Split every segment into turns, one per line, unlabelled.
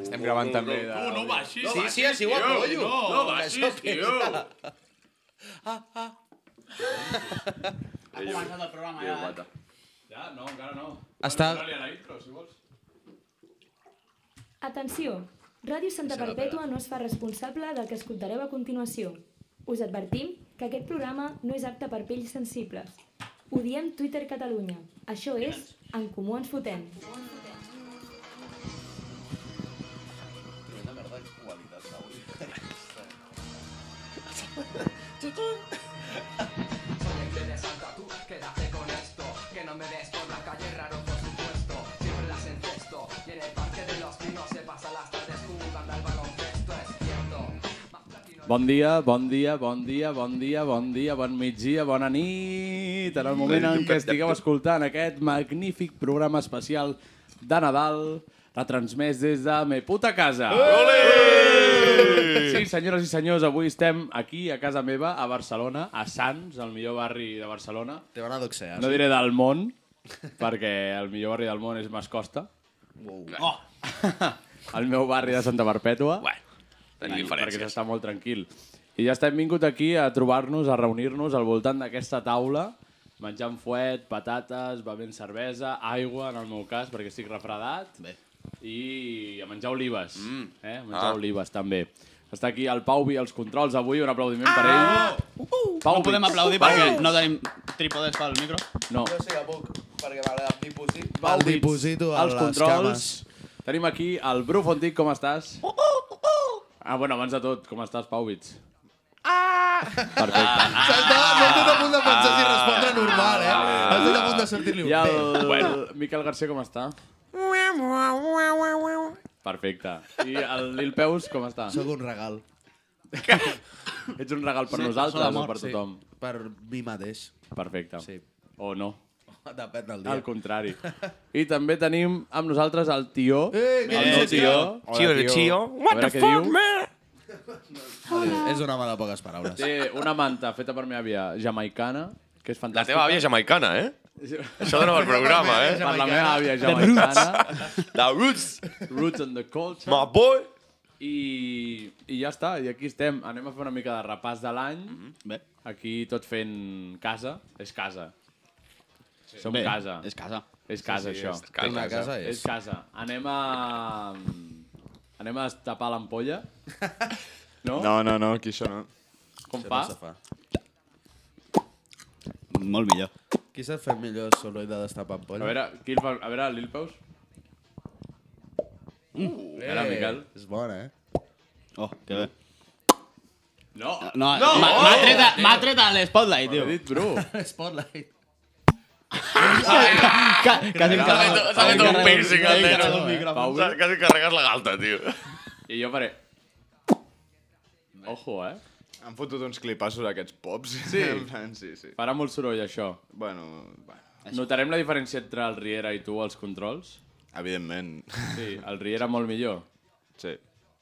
Estem gravant també de...
Tu Uh, no baixis.
Sí, sí, així ho apoyo.
No, no baixis,
Això
tio. Ah,
Ha començat el programa
Déu,
ja. eh?
guata.
Ja, no, encara no.
Està-
Dóna-li a la intro, si vols.
Atenció! Ràdio Santa Perpètua no es fa responsable del que escoltareu a continuació. Us advertim que aquest programa no és apte per pells sensibles. Ho diem Twitter Catalunya. Això és En Comú Ens Fotem.
Tremenda merda de qualitat avui.
Quédate con esto, que no me des por la calle raro por supuesto Siempre las encesto y en el parque de los pinos se pasa las tardes jugando al baloncesto, es cierto
Bon dia, bon dia, bon dia, bon dia, bon dia, bon migdia, bona nit. En el moment en què estigueu escoltant aquest magnífic programa especial de Nadal, retransmès des de me puta casa.
Eh!
Sí, senyores i senyors, avui estem aquí a casa meva, a Barcelona, a Sants, el millor barri de Barcelona.
Te van a doxear.
No diré del món, perquè el millor barri del món és Mascosta.
Oh,
El meu barri de Santa Perpètua.
Bueno, tenim
I- Perquè
diferències.
s'està molt tranquil. I ja estem vingut aquí a trobar-nos, a reunir-nos al voltant d'aquesta taula, menjant fuet, patates, bevent cervesa, aigua, en el meu cas, perquè estic refredat,
Bé.
i a menjar olives. Mm. Eh? A menjar
Ah.
ah. olives, també. Està aquí el Pauvi als controls avui, un aplaudiment ah! per ell. Pau,
no podem aplaudir perquè no tenim trípodes pel micro.
No.
Jo sí que puc, perquè m'agrada el diposit.
Pau,
El diposito a
als
les
controls.
cames.
Tenim aquí el Bru Fontic, com estàs? Ah, bueno, abans de tot, com estàs, Pauwitz? Ah! Perfecte.
Ah, Estava molt a punt de pensar si respondre normal, eh? Ah, Estic a punt de sortir-li un
I
pet.
el bueno. Miquel García com està? Perfecte. I el Lil Peus com està?
Sóc un regal.
Ets un regal per
Sí, persona
nosaltres
d'amor,
o per tothom?
Sí, per mi mateix.
Perfecte.
Sí.
O no,
Depèn del dia.
al contrari. I també tenim amb nosaltres el tio.
Eh, que
el
dius,
meu tio.
Tio, el tio. What the fuck, man?
És un home de poques paraules.
Té una manta feta per meva àvia jamaicana, que és
La
fantàstica.
teva àvia és jamaicana, eh? Això dona pel programa, eh?
Per la meva àvia jamaicana.
The Roots,
Roots and the culture.
my boy.
I, I ja està, i aquí estem. Anem a fer una mica de repàs de l'any.
Bé,
Aquí tot fent casa. És casa. Sí. Som
bé,
casa.
és casa.
És casa, sí, sí, això.
Casa,
Una casa
És...
és...
és casa. Anem a... Anem a tapar l'ampolla. No?
No, no, no, aquí això no.
Com
Això
fa?
no se fa.
Molt millor.
Qui sap fer millor el soroll de destapar ampolla?
A veure, qui el fa? A veure, Lil Peus? Uh, a veure, Miquel.
És bona, eh?
Oh, que bé.
No,
No, no m'ha m'ha tret, a- m'ha tret a l'Spotlight,
he
tio.
dit Bru.
Spotlight.
Ca- Quasi em
S'ha
carrego.
fet- s'ha fet un piercing al
micro.
neno.
Pau,
S'ha quasi carregat la galta, tio.
I jo faré... Ojo, eh?
Han fotut uns clipassos aquests pops.
Sí.
En plan, sí, sí.
Farà molt soroll, això.
Bueno, bueno.
Notarem la diferència entre el Riera i tu als controls?
Evidentment.
Sí, el Riera molt millor.
Sí.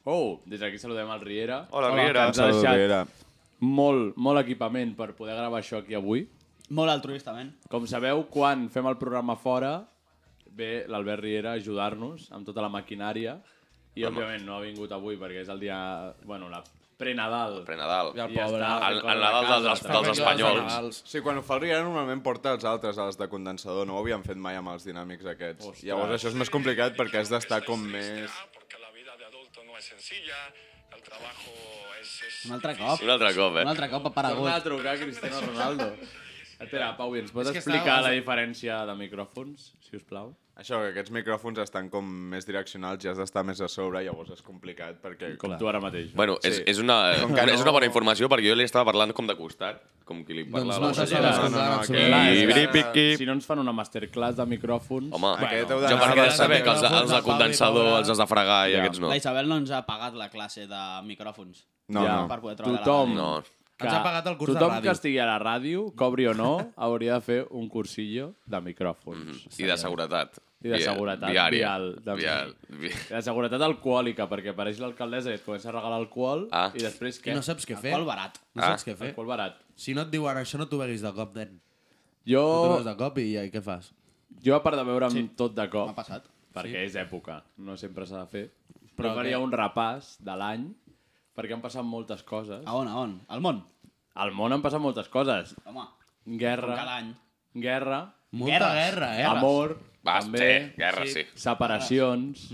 Oh, des d'aquí saludem al Riera.
Hola, Riera.
que Ens ha
Salud,
deixat
Riera.
molt, molt equipament per poder gravar això aquí avui.
Molt altruistament.
Com sabeu, quan fem el programa fora, ve l'Albert Riera a ajudar-nos amb tota la maquinària. I, òbviament, no ha vingut avui perquè és el dia... Bueno, la pre-Nadal.
Pre Nadal.
Ja
I ja
pobre.
està,
El,
recorda
el Nadal
casa,
dels,
recorda
dels
casa.
espanyols.
Sí, quan ho fa el Riera normalment porta els altres, els de condensador. No ho havien fet mai amb els dinàmics aquests.
Ostres.
Llavors això és més complicat perquè has d'estar com més...
porque la vida de adulto no es sencilla, el trabajo es... es-
Un altre cop.
Un altre cop, eh?
Un altre cop ha
Torna a
aparegut.
trucar a Cristiano Ronaldo. Espera, Pau, i ens pots
És que estava-
explicar la diferència de micròfons, si us plau?
Això, que aquests micròfons estan com més direccionals i has d'estar més a sobre, llavors és complicat perquè...
Com tu ara mateix.
Bueno, és,
Sí.
és, una,
Com que
encara, és
no-
una bona informació perquè jo li estava parlant com de costat, com qui li
Doncs
parla a
no,
la
això
consellera.
no, no, no,
I
Clar,
Eh, és que-
bripiqui.
Si no ens fan una masterclass de micròfons...
Home,
Aquest
bueno, jo
heu d'anar
perquè he de
a
saber
la
que els,
Sagrada
els de
Família,
condensador
Paula.
els has de fregar i
Ja.
aquests no.
La Isabel no ens ha pagat la classe de micròfons.
No,
ja.
no.
Per poder treballar a la
tothom,
No.
que,
Ens ha pagat el curs de
tothom
ràdio.
que estigui a la ràdio, cobri o no, hauria de fer un cursillo de micròfons.
I de seguretat.
I de seguretat.
Viària.
Vial, de-
Vial.
De seguretat alcohòlica, perquè apareix l'alcaldessa i et comença a regalar alcohol
Ah.
i després
I
què?
no saps què fer.
Qual barat.
No saps què fer.
Alcohol barat.
Si no et diuen això, no t'ho beguis de cop, nen. No t'ho
Jo,
beguis de cop i, i què fas?
jo a part de veure'm sí. tot de cop,
M'ha passat.
perquè sí. és època, no sempre s'ha de fer, però
Però
faria
què?
un repàs de l'any, perquè han passat moltes coses.
A on, a on? Al món?
Al món han passat moltes coses.
Home,
Guerra,
com cada any.
guerra,
Molta guerra, guerra, eh?
amor,
Va,
també,
sí, guerra, sí.
separacions,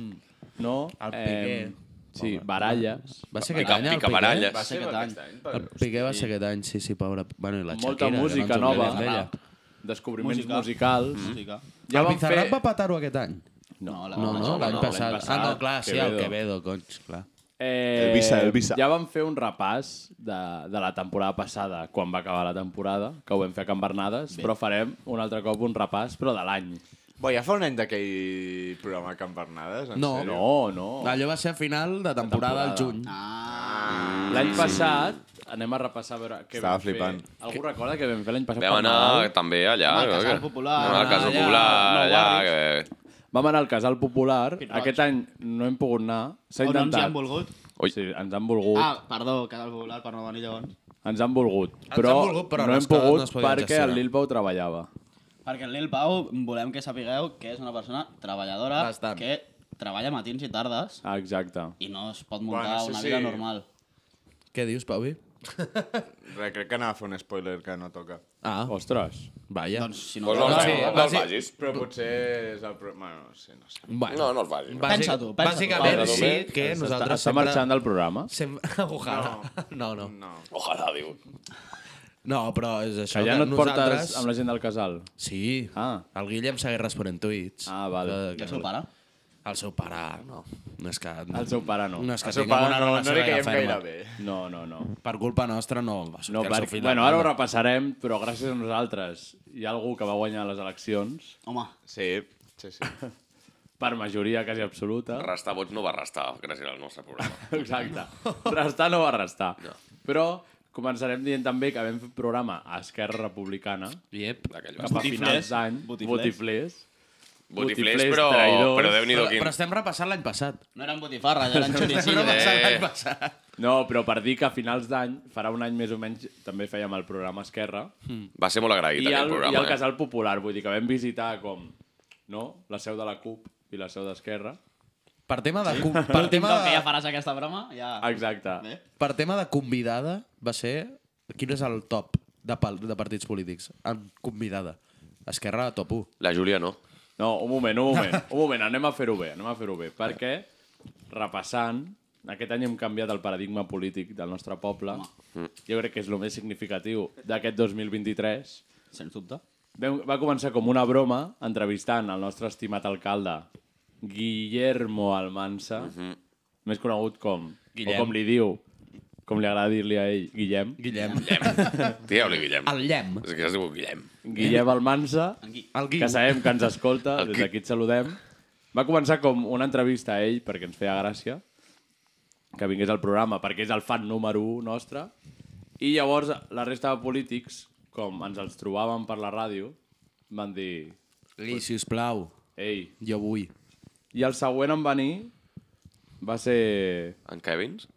no?
El Piqué.
sí, baralles,
Va ser aquest
Pica,
any, el
pica
Piqué?
baralles.
Va ser aquest any.
El Piqué va ser aquest any, sí, sí, pobre. Bueno, i la
molta
Shakira, que no
música
ens
nova,
oblidem d'ella.
descobriments
Música.
musicals...
Mm.
Música.
Ja
Ah, el
van
Bizarrap
fer...
va petar-ho aquest any?
No, la
No, no, l'any passat. Ah, no, clar, sí, el
Quevedo.
Quevedo, conys, clar.
Eh,
El Visa, el Visa.
Ja vam fer un repàs de, de la temporada passada, quan va acabar la temporada, que ho vam fer a Can Bernades, però farem un altre cop un repàs, però de l'any.
Bo, ja fa un any d'aquell programa Can Bernades, en
No.
sèrio?
No, no.
Allò va ser a final de temporada, al
temporada.
juny.
L'any passat, anem a repassar a veure què
Estava
vam
flipant.
fer. Algú recorda que vam fer l'any passat?
Vam
per
anar
Nadal?
també allà.
Amb el
no?
Casal
Que-
Popular,
Amb el Casal
allà,
Popular,
Nou
allà. Que...
Vam anar al Casal Popular.
Pit Roig.
Aquest any no hem pogut anar. S'ha
On no ens hi
intentat.
han volgut?
Ui.
Sí, ens han volgut.
Ah, perdó, que el volar per no venir llavors.
Ens han volgut. Però,
han volgut, però
no
les
hem
coses no
pogut
es podien
perquè el
gestionar.
Lil Pau treballava.
Perquè el Lil Pau, volem que sapigueu que és una persona treballadora
Bastant.
que treballa matins i tardes
Ah, exacte.
i no es pot muntar
Bueno, sí,
una
sí.
vida normal.
Què dius, Pauvi?
Re, crec que anava a fer un spoiler que no toca.
Ah,
Ostres.
vaja.
Doncs si no...
Pues no,
va
no,
ser-
no,
va
els
ser-
vagis.
Però potser és el... Pro... Bueno, no sé, no sé.
Bueno.
No, no els vagis. No.
Bàsic,
Pensa-t'ho, pensa-t'ho.
bàsicament
Pau,
sí
Domènec,
que
Està,
nosaltres
està eh, marxant del programa?
Sempre... Ojalà. No, no.
No.
Ojalà, diu.
No, però és això.
Que ja no et
nosaltres...
portes amb la gent del casal?
Sí.
Ah.
El Guillem segueix responent tuits.
Ah, val.
I el seu pare?
El seu pare, no. No és que...
El seu pare no.
No és que
El seu
tinguem
pare
una
no, no
relació
li
gaire
caiem gaire
ferma.
bé.
No, no, no.
Per culpa nostra no va sortir
no
el seu
perquè,
fill.
bueno, ara ho repassarem, però gràcies a nosaltres hi ha algú que va guanyar les eleccions
Home,
Sí, sí, sí.
per majoria quasi absoluta.
Restar vots no va restar, gràcies al nostre programa.
Exacte. Restar no va restar. No. Però començarem dient també que vam fer un programa a Esquerra Republicana
Yep.
D'aquell
cap a
bast-
finals d'any.
Botiflers.
Botiflers.
Botiflers,
Botiflers,
però,
traïdors.
però Déu-n'hi-do quin...
Però estem repassant l'any passat.
no eren botifarra, ja eren xoricillos.
Eh.
Repassant l'any passat.
No, però per dir que a finals d'any, farà un any més o menys, també fèiem el programa Esquerra.
Va ser molt
I,
agraït,
el,
aquell
I
programa. eh?
el Casal Popular, vull dir que vam visitar com, no?, la seu de la CUP i la seu d'Esquerra.
Per tema de... Sí? Per
Per
tema
TikTok, que ja
de...
faràs aquesta broma, ja...
Exacte.
Ah. Bé.
Per tema de convidada va ser... Quin és el top de, pal- de partits polítics? En convidada. Esquerra, top 1.
La Júlia no.
No, un moment, un moment, un moment, anem a fer-ho bé, anem a fer-ho bé, perquè, repassant, aquest any hem canviat el paradigma polític del nostre poble. Jo crec que és el més significatiu d'aquest 2023.
Sens dubte.
Vam- Va començar com una broma, entrevistant el nostre estimat alcalde, Guillermo Almansa, més conegut com,
Guillem.
o com li diu, com li agrada dir-li a ell, Guillem.
Guillem.
Digueu-li Guillem.
El Llam.
És que es diu Guillem.
Guillem Almansa,
El Guiu.
que sabem que ens escolta,
El
des
Gui-
d'aquí et saludem. Va començar com una entrevista a ell, perquè ens feia gràcia, que vingués al programa, perquè és el fan número 1 nostre. I llavors la resta de polítics, com ens els trobàvem per la ràdio, van dir...
Gui, sisplau,
Ei,
jo vull.
i el següent en venir va ser...
En Kevins?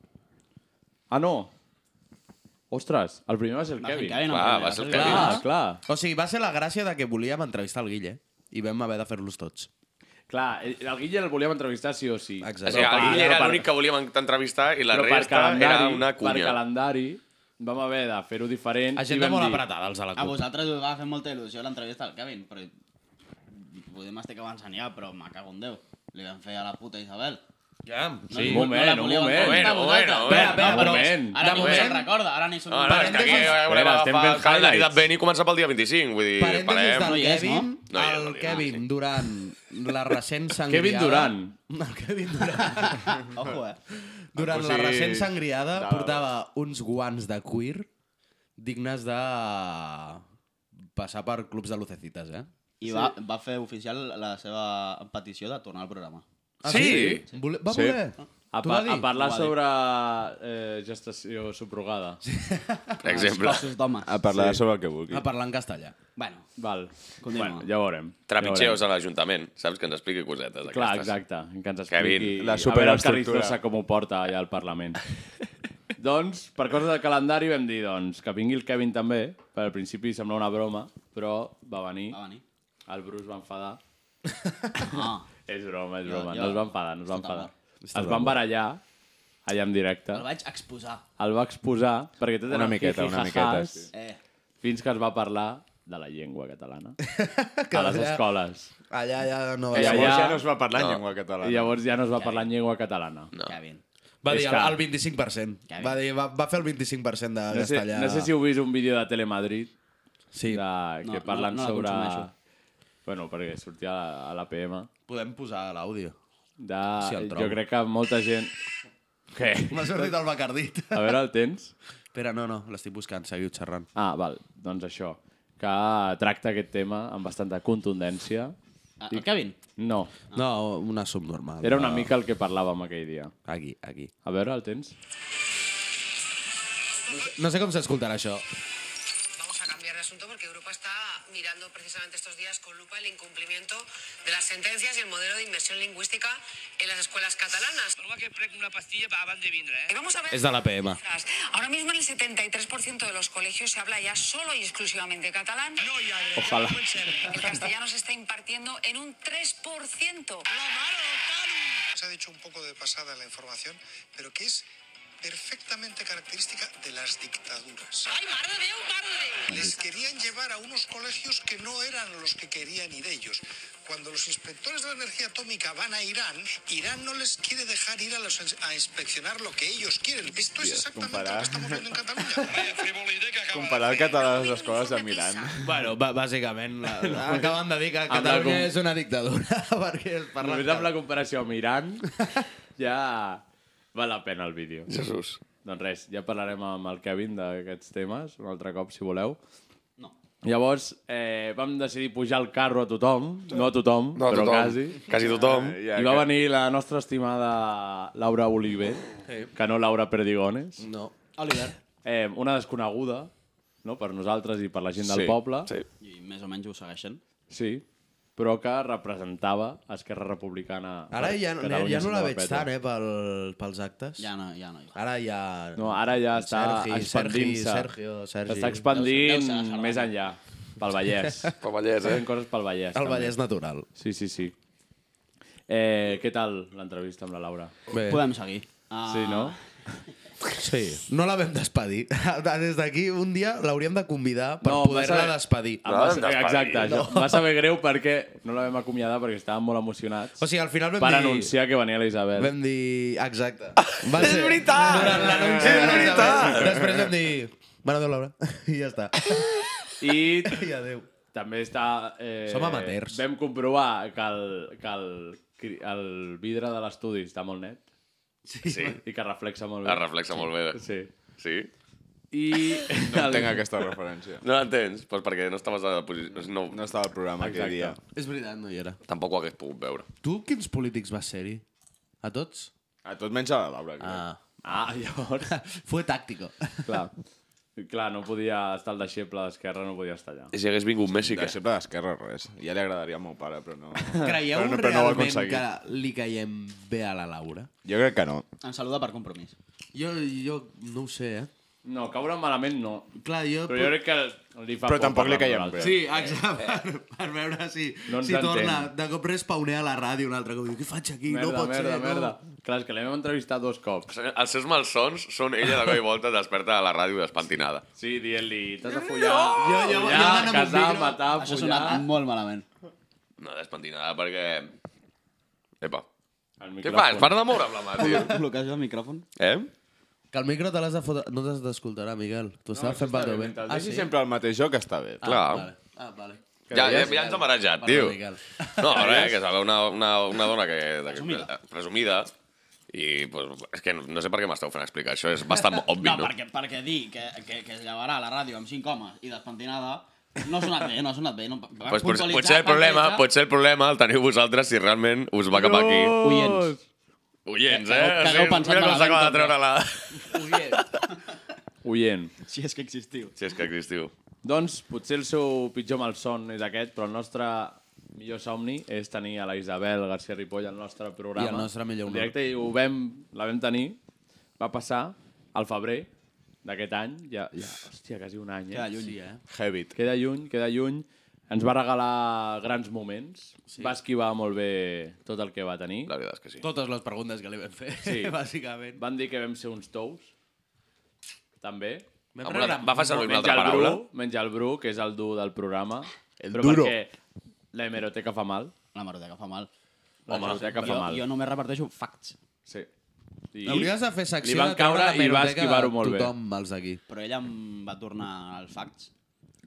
Ah, no! Ostres, el primer va ser el
Va,
Kevin.
Kevin,
Clar,
el primer,
va ser el
el
Kevin.
primer.
Ah, clar.
O sigui, va ser la gràcia de que volíem entrevistar el Guille i vam haver de fer-los tots.
Clar, el el Guille el volíem entrevistar sí o sí.
O
Exacte.
sigui, el
per-
Guillem era
per-
l'únic que volíem entrevistar i la
Però per
resta era
calendari-
una
Per
cunya.
calendari vam haver de fer-ho diferent. i
Agenda
vam
molt
dir,
apretada, els de la
A
CUP.
vosaltres us va fer molta il·lusió l'entrevista al Kevin, però podem estar que abans ja, però me cago en Déu. Li vam fer a la puta Isabel.
Ja,
Sí. Un moment, un moment.
Bueno, bueno, bueno,
Espera,
un moment.
Ara
De
ni us en
moment.
recorda, ara ni són...
No, no, és que aquí haurem
Espera, estem
d'agafar el
fent
calendari
highlights.
d'advent i començar pel dia 25. Vull dir,
Parèntesis
parem.
del
No hi és,
Kevin,
no? No hi és, no
el
hi és,
Kevin
sí.
durant la recent sangriada...
Kevin Durant.
El Kevin Durant.
Ojo, eh?
Durant
El
la
cosí
recent sangriada
de-
portava uns guants de cuir dignes de passar per clubs de lucecites, eh?
I va, va fer oficial la seva petició de tornar al programa.
Ah,
Sí?
Vole- Va
Sí.
voler?
A,
T'ho
pa
va dir?
a parlar
Ho va dir.
sobre eh, gestació subrogada. Sí.
Per exemple,
Els cossos d'homes.
A parlar sí. sobre el que vulgui.
A parlar en castellà.
Bueno,
Val.
Continua.
Bueno, ja ho veurem.
trepitgeus a l'Ajuntament. Saps que ens expliqui cosetes
Clar,
d'aquestes.
exacte. Que ens
eh, Kevin,
expliqui...
la
a veure el
superestructura.
Carrizosa com ho porta allà al Parlament. doncs, per coses del calendari vam dir doncs, que vingui el Kevin també. Per al principi sembla una broma, però va venir.
va venir.
El Bruce va enfadar.
Ah,
És broma, és broma.
jo-
No es va enfadar, no es va
Escolta,
enfadar. Es van barallar allà en directe.
El vaig exposar.
El va exposar perquè tot
Una
eren
miqueta,
jijijajàs,
una miqueta, sí.
Eh.
Fins que es va parlar de la llengua catalana a les escoles.
Allà, allà, no.
I
Llavors
allà-
ja no es va parlar en llengua catalana.
I llavors ja no es va parlar en llengua catalana.
No.
Que bien.
Va
És
dir el,
que-
el 25%.
bé.
Va, dir, va, va fer el 25% de
No sé,
castellà.
no sé si heu vist un vídeo de Telemadrid
Sí.
de, que
No, no,
parlen
no la
sobre...
consumeixo.
Bueno, perquè sortia a la- a l'APM.
Podem posar l'àudio.
De...
Si el trobo.
jo crec que molta gent... Què?
M'ha sortit el bacardit.
A veure, el tens?
Espera, no, no, l'estic buscant, seguiu xerrant.
Ah, val, doncs això. Que tracta aquest tema amb bastanta contundència.
Ah, El Kevin.
No,
No, una subnormal.
Ah. era una
Ah,
mica el que parlàvem aquell dia.
Aquí, aquí.
A veure, el tens?
No sé com s'escoltarà això.
Vamos a cambiar de asunto porque Europa está mirando precisamente estos días con lupa el incumplimiento de las sentencias y el modelo de inversión lingüística en las escuelas catalanas. Y vamos a ver.
És de l'APM.
Ahora mismo en el 73% de los colegios se habla ya solo y exclusivamente catalán.
Ojalá.
El castellano se está impartiendo en un 3%.
Se ha dicho un poco de pasada la información, pero que es perfectamente característica de las dictaduras.
¡Ay, madre de Dios, madre de Dios!
Les querían llevar a unos colegios que no eran los que querían ir ellos. Cuando los inspectores de la energía atómica van a Irán, Irán no les quiere dejar ir a, los, a inspeccionar lo que ellos quieren. Esto es exactamente lo que estamos viendo en Cataluña.
Comparar el català a les escoles amb Iran.
Bueno, bà- bàsicament, la, la, acaben de dir que Catalunya
com-
és una dictadura perquè es parla...
Només amb la comparació amb Iran ja val la pena el vídeo.
Jesús.
Doncs res, ja parlarem amb el Kevin d'aquests temes un altre cop, si voleu. No. Llavors, eh, vam decidir pujar el carro a tothom, no a tothom,
No,
però
tothom.
quasi.
Quasi tothom.
Ja,
I va
que-
venir la nostra estimada Laura Oliver, que no Laura Perdigones,
No.
Oliver.
eh, una desconeguda no? per nosaltres i per la gent del
Sí,
poble,
Sí.
I més o menys ho segueixen.
sí, però que representava Esquerra Republicana.
Ara
per
ja, ja, ja
Catalunya
no la
Santa
veig
Perpètua.
tant, eh, pel, pels actes.
Ja no, ja no.
Ara ja...
No, ara ja està
Sergi,
expandint-se.
Sergi, Sergio, Sergi.
Està
Deu
expandint
ser- deu ser
més
Sergi.
enllà, pel Vallès.
Pel Vallès,
Està
eh?
fent coses pel Vallès.
El
també.
Vallès natural.
Sí, sí, sí. Eh, què tal l'entrevista amb la Laura?
Bé.
Podem seguir. Ah,
Sí, no?
Sí. No la vam despedir. Des d'aquí un dia l'hauríem de convidar per
No,
no,
em va
poder-la
saber-
despedir.
Em
No,
va
hem
saber,
d'espedir.
exacte, no. va saber greu perquè no la vam acomiadar perquè estàvem molt emocionats
O sigui, al final vam
per
dir...
anunciar que venia la Isabel.
Vam dir... Exacte. Va és ser... veritat! Durant l'anunci.
És
de la Isabel.
veritat!
Després vam dir... Mare adéu, Laura. I ja està.
I
I adéu.
també està... Eh,
Som amateurs.
Vam comprovar que el, que el, cri- el vidre de l'estudi està molt net
Sí.
i que reflexa molt bé.
Es reflexa molt bé.
Sí.
Sí?
I...
No entenc aquesta referència.
No l'entens? Pues perquè no estaves a la posició... No,
No estava al programa
Exacte.
aquell dia.
És veritat, no hi era.
Tampoc ho hagués pogut veure.
Tu quins polítics vas ser-hi? A tots?
A tot menys a la Laura, crec.
Ah.
Ah, llavors...
Fue tàctico.
Clar. Clar, no podia estar el deixeble d'esquerra, no podia estar allà.
Si hagués vingut Messi,
De
que...
sempre d'esquerra, res. Ja li agradaria al meu pare, però no...
Creieu
però no, però no ho ha
realment
aconseguit.
que li caiem bé a la Laura?
Jo crec que no.
Em saluda per compromís.
Jo, jo no ho sé, eh?
No, caure malament no.
Clar, jo...
Però jo crec que li fa
Però
por
tampoc li
parlar
caiem
amb nosaltres.
Sí, exacte, per, per veure si,
No ens
si torna.
entén.
De cop respawnea a la ràdio un altre cop. Diu, què faig aquí?
Merda,
no pot
merda,
ser,
merda.
no.
Clar, és que l'hem entrevistat dos cops.
Els seus malsons són ella de cop i volta desperta a la ràdio despentinada.
Sí, dient-li, t'has de follar, no!
Jo- jo- jo
follar,
anant amb un
casar,
micro-
matar,
Ah, Això ha
follar...
sonat molt malament.
No, despentinada perquè... Epa.
El
Què
micròfon.
fas? Para de moure'm la mà, tio.
Bloqueja el micròfon.
Eh?
Que el micro te l'has de fotre... No t'has d'escoltarà, Miguel. T'ho estava fent pel teu vent.
Ah, sí? sempre al mateix joc està bé.
Clar.
Vale. Ah, vale.
Ja, ja, ja ens ha marejat, tio.
Miguel.
No, res, que sabeu una, una, una dona que... de- Presumida. I, pues, és que no, no sé per què m'esteu fent explicar això. És bastant obvi,
No,
no?
perquè, perquè dir que, que, que es llevarà a la ràdio amb 5 homes i despentinada no ha sonat bé, no ha sonat bé. No,
Pues, pot, pot ser el problema, pot ser el problema el teniu vosaltres si realment us va cap aquí.
Oients.
Oients,
Que
eh?
hagueu- que hagueu pensat
mira com
malament,
s'acaba de
també.
treure la...
Oient.
Si és que existiu.
Si és que existiu.
Doncs potser el seu pitjor malson és aquest, però el nostre millor somni és tenir a la Isabel García Ripoll al nostre programa.
I el nostre millor
En
honor.
Directe, i ho vam, la vam tenir. Va passar al febrer d'aquest any. Ja, ja, hòstia, quasi un any. Eh?
Queda lluny, eh?
Habit.
Queda lluny, queda lluny. Ens va regalar grans moments. Sí. Va esquivar molt bé tot el que va tenir. La
veritat és que sí.
Totes les preguntes que li vam fer, sí. bàsicament.
Van dir que vam ser uns tous. També.
Vam Amb una- rebre va fer servir una
Menja
altra
el Bru,
paraula?
Menja el Bru, que és el dur del programa. El però
duro.
perquè la hemeroteca fa mal.
La hemeroteca fa mal.
La hemeroteca fa
jo,
mal.
jo només reparteixo facts.
Sí.
I Hauries de fer secció
Li van
de treure
caure
la
i va
hemeroteca
esquivar-ho
de
molt bé.
tothom, els d'aquí.
Però ella em va tornar al facts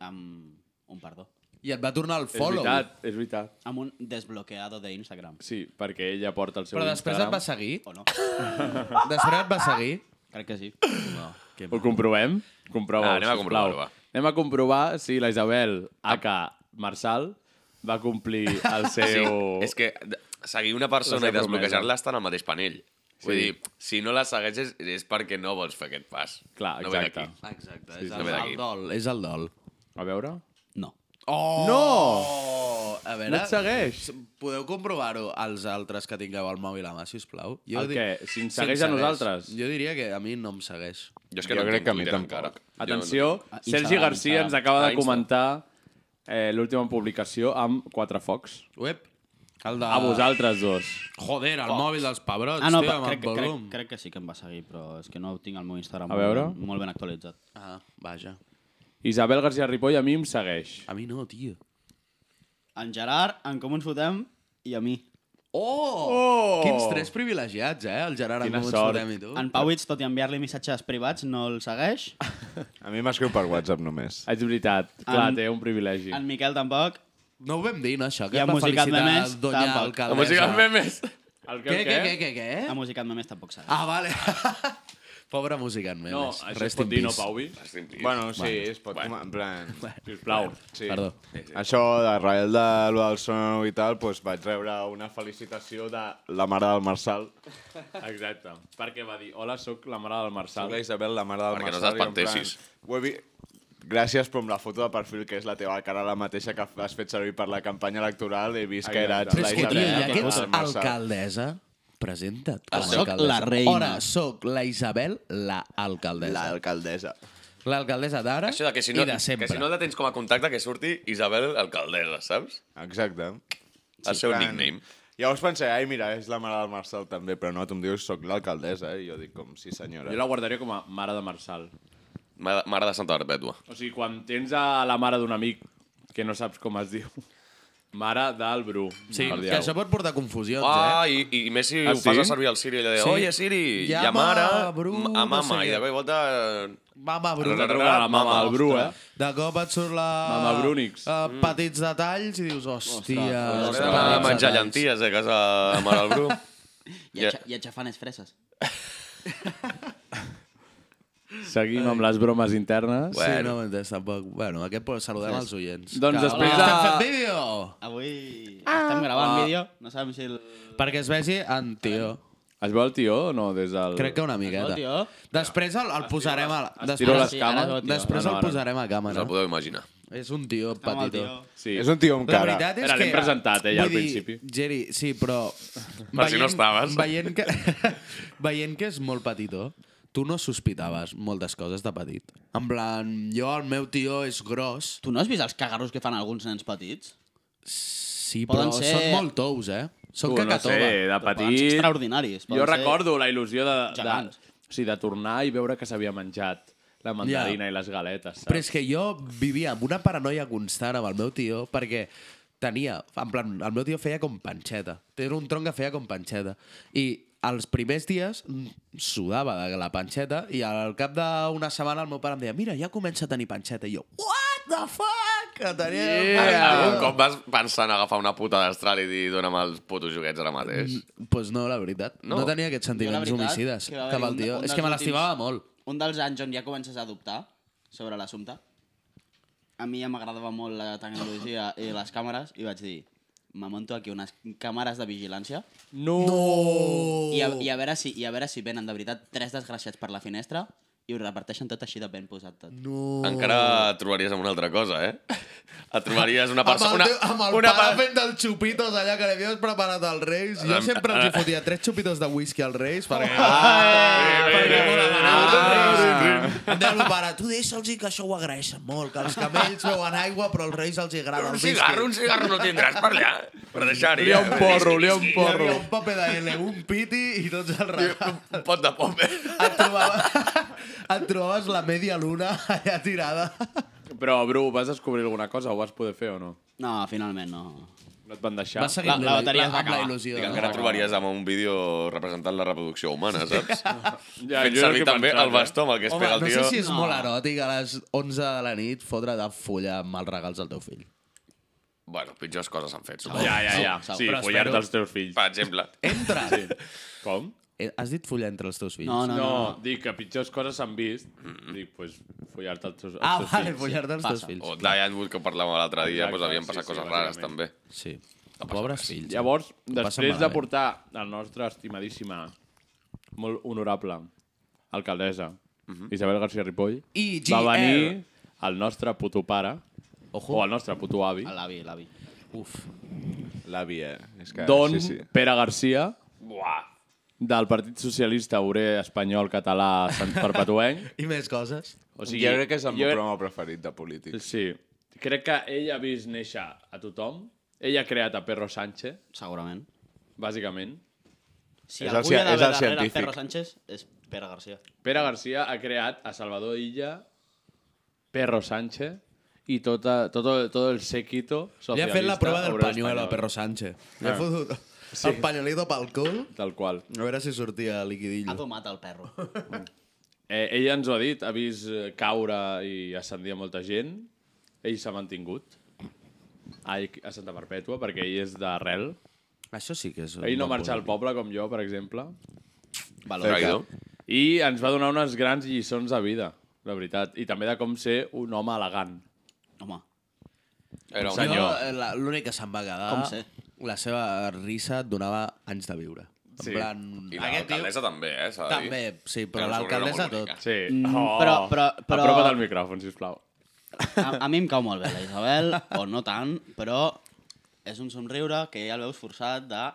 amb un perdó.
I et va tornar el
És
follow.
veritat, és veritat.
Amb un desbloqueado de Instagram.
Sí, perquè ella porta el seu
Però després et
Instagram.
va seguir?
O no?
després et va seguir?
Crec que sí.
No.
Ho comprovem? Comprova,
Ah, anem a comprovar-ho, va.
Anem a comprovar si la Isabel, aka Marçal, va complir el seu...
Ah, Sí, és que d- seguir una persona
La
i
seva
desbloquejar-la
promesa.
està en el mateix panell.
Sí.
Vull dir, si no la segueixes és perquè no vols fer aquest pas.
Clar,
No ve
exacte.
d'aquí.
Exacte,
Sí,
és
no
el,
ve d'aquí.
el dol, és el dol.
A veure...
No.
Oh!
No!
A veure...
No et segueix.
Podeu comprovar-ho als altres que tingueu el mòbil a mà, sisplau?
El
di-
què? Si
em
ens segueix a nosaltres?
Jo diria que a mi no em segueix.
Jo és que Jo no crec tinc que a mi Twitter tampoc. encara.
Atenció,
Jo no-
Sergi
Instagram,
Garcia ens
Instagram.
acaba
Ah,
de
Insta.
comentar eh, l'última publicació amb quatre focs.
Web. El de...
A vosaltres dos.
Joder, el
Fox.
mòbil dels pebrots,
Ah, no,
tio,
però
amb
crec,
el
crec,
volum.
crec que sí que em va seguir, però és que no tinc el meu Instagram
A veure.
Molt, ben- molt ben actualitzat.
Ah, vaja.
Isabel García Ripoll a mi em segueix.
A mi no, tio.
En Gerard, en com ens fotem, i a mi.
Oh! Quins tres privilegiats, eh? El Gerard en Comú ens fotem i tu.
En Pauits, tot i enviar-li missatges privats, no el segueix.
A mi m'escriu per WhatsApp només.
És veritat. Clar, té un privilegi.
En Miquel tampoc.
No ho vam dir, no, això? Que
I
et
en
va
Musicat
felicitar
Memes,
Doña
tampoc.
Alcaldessa. En Musicat Memes.
El
Què, què, què, què, què?
A Musicat Memes tampoc segueix.
Ah, vale. Pobre Musicat Memes.
No, això es pot dir, no, Pauvi?
Bueno, sí, es pot... Bueno. En plan...
Sisplau.
Sí.
Perdó.
Això, d'arrel de lo del sono i tal, doncs vaig rebre una felicitació de la mare del Marçal.
Exacte. Perquè va dir, hola, sóc la mare del Marçal.
Sóc la Isabel, la mare del
Perquè no
Marçal. i en
t'espantessis.
plan, Ho he vist... Gràcies, però amb la foto de perfil, que és la teva cara, la mateixa que has fet servir per la campanya electoral, he vist que eres
Però
la
és que,
Isabel.
tio, ja que
del
ets
Marçal.
alcaldessa, presenta't com a
Soc
alcaldessa.
la reina.
Ara soc la Isabel, la alcaldessa.
L'alcaldessa.
L'alcaldessa d'ara
Això de que si no,
i de sempre.
que si no la tens com a contacte, que surti Isabel Alcaldesa, saps?
Exacte.
El seu nickname.
Llavors pensé, ai, mira, és la mare del Marçal també, però no, tu em dius, soc l'alcaldessa, eh?" i jo dic com, sí senyora.
Jo la guardaria com a mare de Marçal.
Mare, mare de Santa Perpètua.
O sigui, quan tens a la mare d'un amic que no saps com es diu, mare del Bru.
Sí,
El
que
diau.
això pot portar confusions, eh?
Ah, i, i més si
Ah,
ho fas a
sí?
servir al Siri, allò de,
Sí.
oye, Siri,
Llama
llamara
a Bru,
a
no sé
mama, i
què.
de cop i volta...
Mama Bru.
Ra, ra, ra, ra, la mama del Bru, eh?
De cop et surt la...
Mama Brunix.
eh, petits detalls i dius, hòstia...
Hauré
els
de
petits
eh? menjar
detalls.
llenties eh, de casa de mare del Bru.
I, yeah. I aixafanes freses.
Seguim amb les bromes internes.
Sí, bueno. no ho he entès tampoc. Bueno, aquest pot saludem als oients.
Doncs
Que-
després
Hola,
de-
Estem fent vídeo!
Avui ah, estem gravant
Ah.
vídeo. No sabem si el...
Perquè es vegi en tio.
Es veu el tió o no? Des del...
Crec que una miqueta.
El tio.
Després el, el posarem a... la-
tiro
Després,
les cames.
Ara, després
Ah, no,
el
ara.
posarem a
Us la
càmera.
podeu imaginar.
És un tio
amb el
petitó.
tio.
Sí.
És un tio amb
La
cara.
veritat és
Era, l'hem
que...
presentat, eh, ja, al
vull
principi.
Geri, sí, però...
Per si no estaves.
Veient que, veient que és molt petitó, tu no sospitaves moltes coses de petit. En plan, jo, el meu tio és gros,
Tu no has vist els cagarros que fan alguns nens petits?
sí, però
Poden ser-
són molt tous, eh? Són
Tu, no
cacatova.
sé, de
Però poden ser
petit... Jo
extraordinaris.
Doncs,
poden
eh,
ser-
recordo la il·lusió de, de,
Gegants.
o sigui, de tornar i veure que s'havia menjat la mandarina
Ja.
i les galetes. Saps?
Però és que jo vivia amb una paranoia constant amb el meu tio perquè tenia... En plan, el meu tio feia com panxeta. Era un tronc que feia com panxeta. I els primers dies mm, sudava de la panxeta i al cap d'una setmana el meu pare em deia mira, ja comença a tenir panxeta. I jo, what the fuck? Que tenia...
Yeah.
panxeta."
Algun cop vas pensar en agafar una puta d'astral i dir dona'm els putos joguets ara mateix.
pues Doncs no, la veritat. No,
No.
no tenia aquests
Jo, la
sentiments
veritat,
homicides
va
cap al
haver-hi
tio.
un- un
És que me
dels
l'estimava
últims-
molt.
Un dels anys on ja comences a dubtar sobre l'assumpte, a mi ja m'agradava molt la tecnologia i les càmeres, i vaig dir, me monto aquí unes càmeres de vigilància
No! no!
i a, i a, veure, si, i a veure si venen de veritat tres desgraciats per la finestra i ho reparteixen tot així de ben posat tot.
No.
Encara et trobaries amb una altra cosa, eh? Et trobaries una persona...
Amb
una-
el, teu- amb el
una
pare
per-
fent dels xupitos allà que li havies preparat als Reis. Jo
Em-
sempre els hi
eh.
fotia tres xupitos de whisky als Reis perquè...
Ah,
Eh, perquè
eh,
m'ho
eh,
demanaven. Em deia el meu pare, tu deixa'ls que això ho agraeixen molt, que els camells beuen aigua però als Reis els hi agrada
Un
el
cigarro, un
whisky.
cigarro no tindràs per allà. Per deixar-hi.
Li ha un
eh?
porro, li ha un
Whisky.
porro. Hi havia un paper de L, un piti i tots els regals.
Un pot de pop, eh?
Et trobaves la media luna allà tirada.
Però, Bru, vas descobrir alguna cosa? Ho vas poder fer o no?
No, finalment no.
No et van deixar?
Vas seguir La- la amb la- bateria es va amb la acabar. il·lusió,
Dic,
no?
encara trobaries amb un vídeo representant la reproducció humana, saps?
Ja,
ja,
jo
Fent
és el
servir
que
també
pensava,
el bastó amb el que es
Home,
pega el
no
tio.
sé si és molt eròtic a les 11 de la nit fotre de fulla amb els regals del teu fill.
Bueno, pitjors coses s'han fet,
Segur,
suposo.
Ja, ja, ja. segur. Sí, Però follar-te espero- els
teus fills.
Per exemple.
Eh?
Entra! Sí.
Com?
Eh, Has dit follar entre els teus fills?
no, dic que pitjors coses s'han vist.
Mm.
Dic, pues, follar-te els teus, els
Ah,
teus
vale,
fills.
follar-te els teus fills.
O Diane Wood, que parlàvem l'altre dia,
Exacte,
doncs havien
sí,
passat
sí,
coses rares, també.
bàsicament.
Sí. Pobres fills. eh.
Llavors,
Ho passen
després de
malament.
portar la nostra estimadíssima, molt honorable alcaldessa,
Mhm.
Isabel García Ripoll,
I
va
GL.
venir el nostre puto pare, o el nostre puto avi,
L'avi, l'avi.
Uf.
L'avi, eh? És que,
Don
Sí, sí.
Pere García,
Buah.
del Partit Socialista Obrer Espanyol Català Sant Perpetuenc.
I més coses.
O
jo crec que és el
jo-
meu programa preferit de polític.
Sí. Crec que ell ha vist néixer a tothom. Ell ha creat a Perro Sánchez,
Segurament.
bàsicament.
Si
És
és
el
algú
ci-
hi ha
és el
d'haver darrere el
científic.
Perro Sánchez, és Pere García.
Pere García ha creat a Salvador Illa, Perro Sánchez i tota, tot, tot el séquito
Li
socialista.
ha fet la prova del
obrer
pañuelo
espanyol.
a Perro Sánchez. Li
Ah.
ha fotut el pañuelito pel cul.
Tal qual.
A veure si sortia
Ha
liquidillo.
domat el perro.
Eh, ell ens ho ha dit, ha vist eh, caure i ascendir a molta gent. Ell s'ha mantingut a, a Santa Perpètua, perquè ell és d'arrel.
Això sí que és... un
Ell no
bon
marxa al
punt.
poble, com jo, per exemple.
Traïdor.
I ens va donar unes grans lliçons de vida, la veritat. I també de com ser un home elegant.
Home,
Era un
Jo,
senyor.
eh, la- L'únic que se'n va quedar...
Com sé?
La seva risa et donava anys de viure. En
Sí.
plan...
I
aquest tio-
l'alcaldessa eh, també, eh? s'ha de dir.
També, sí, però
Era una senyora
l'alcaldessa
molt
tot.
bonica.
Sí.
Mm,
Oh.
però- però- però-
Apropa't al micròfon, sisplau.
a, a mi em cau molt bé la Isabel, o no tant, però és un somriure que ja el veus forçat de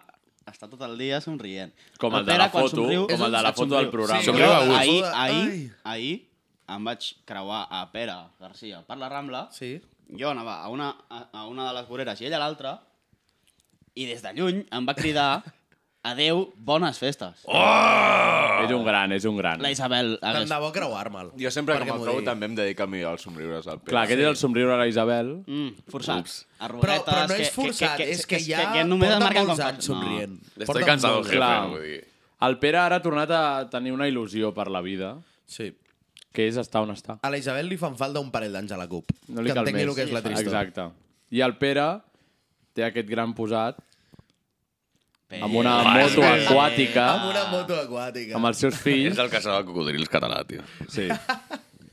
estar tot el dia somrient.
Com el de la
Pere, quan
foto, com el de
és un-
la
et
foto del programa.
jo
Somriu a gust.
ahir, ahir,
Ai.
ahir em vaig creuar a Pere Garcia per la Rambla.
Sí.
Jo anava a una, a, a una de les voreres i ella a l'altra, i des de lluny em va cridar adeu, bones festes. Oh!
És un gran, és un gran.
La Isabel...
Tant
hagués-
de bo creuar-me'l.
Jo sempre que
Perquè
me'l
m'ho
trobo
digui.
també em dedico millor als somriures al Pere.
Clar, aquest és el somriure de la Isabel.
Mm, forçat.
Però,
Arruguetes,
però no
que-
és
que-
forçat,
que- que-
és que,
que-
ja
que- que només
porta
et marquen
molts
com-
anys
No.
somrient.
Estic cansat del jefe,
Clar.
vull dir.
El Pere ara ha tornat a tenir una il·lusió per la vida,
Sí.
que és estar on està.
A la Isabel li fan falta un parell d'anys a la CUP.
No li
que
cal
entengui
més.
el que és la tristor.
Exacte. I el Pere té aquest gran posat
Pere.
amb una moto
Pere.
aquàtica,
Eh, Amb una moto aquàtica.
amb els seus
És
fills.
el caçador de cocodrils català, tio.
Sí.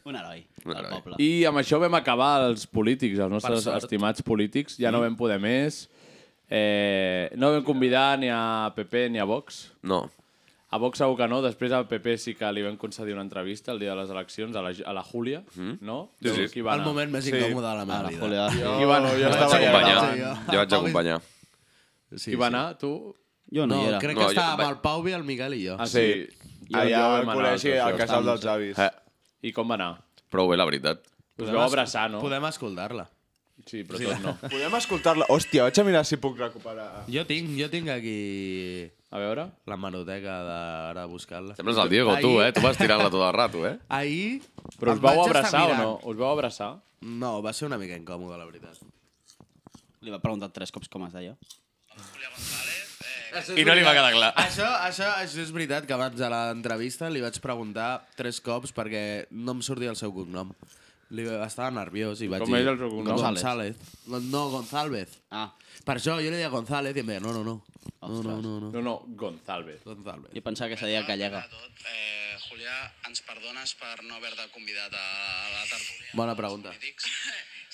Un heroi
Un
del
heroi.
poble. I...
I amb això vam acabar els polítics, els nostres
sort. Mm.
estimats polítics. Ja no vam poder més. Eh, no vam convidar ni a PP ni a Vox.
No.
A Vox segur que no. Després a PP sí que li vam concedir una entrevista el dia de les eleccions, a la, a la Júlia, no?
Sí, sí.
Qui va
El
anar?
moment més incòmode de la
A
meva
la
vida.
Julia.
Qui va anar?
Jo vaig
estava allà,
acompanyar.
sí, jo.
Jo vaig acompanyar.
Sí,
Qui va anar? Tu?
Jo no,
No,
no hi era.
crec
No,
que
jo
estava
vaig-
amb el Pau i el Miguel i jo.
Ah, sí. Jo-
Allà
jo vam
al
anar
col·legi,
tots
al
dos.
casal dels avis.
Eh,
I com va anar?
prou bé, la veritat.
Us vau abraçar, no?
Podem escoltar-la.
Sí, però tot no.
Podem escoltar-la? Hòstia, vaig a mirar si puc recuperar...
Jo tinc, jo tinc aquí
A veure?
la manoteca de, ara buscar-la.
Sembles el Diego, tu, eh? Tu vas tirant-la tot el rato, eh?
Ahir...
Però us
em
vau
vaig estar
abraçar o
mirant.
no? Us vau abraçar?
No, va ser una mica incòmode, la veritat.
Li va preguntar tres cops com es deia.
I no li va quedar clar.
Això, això, això és veritat, que abans de l'entrevista li vaig preguntar tres cops perquè no em sortia el seu cognom. Li, estava nerviós i vaig
Com
dir...
és el seu cognom?
González. No, no, González.
Ah,
Per això jo li deia González i em deia no, no, no. No, no, no, no.
No, no, González.
González.
jo pensava que es deia Gallega.
Tot, eh, Julià, ens perdones per no haver-te convidat a la tertúlia.
Bona pregunta.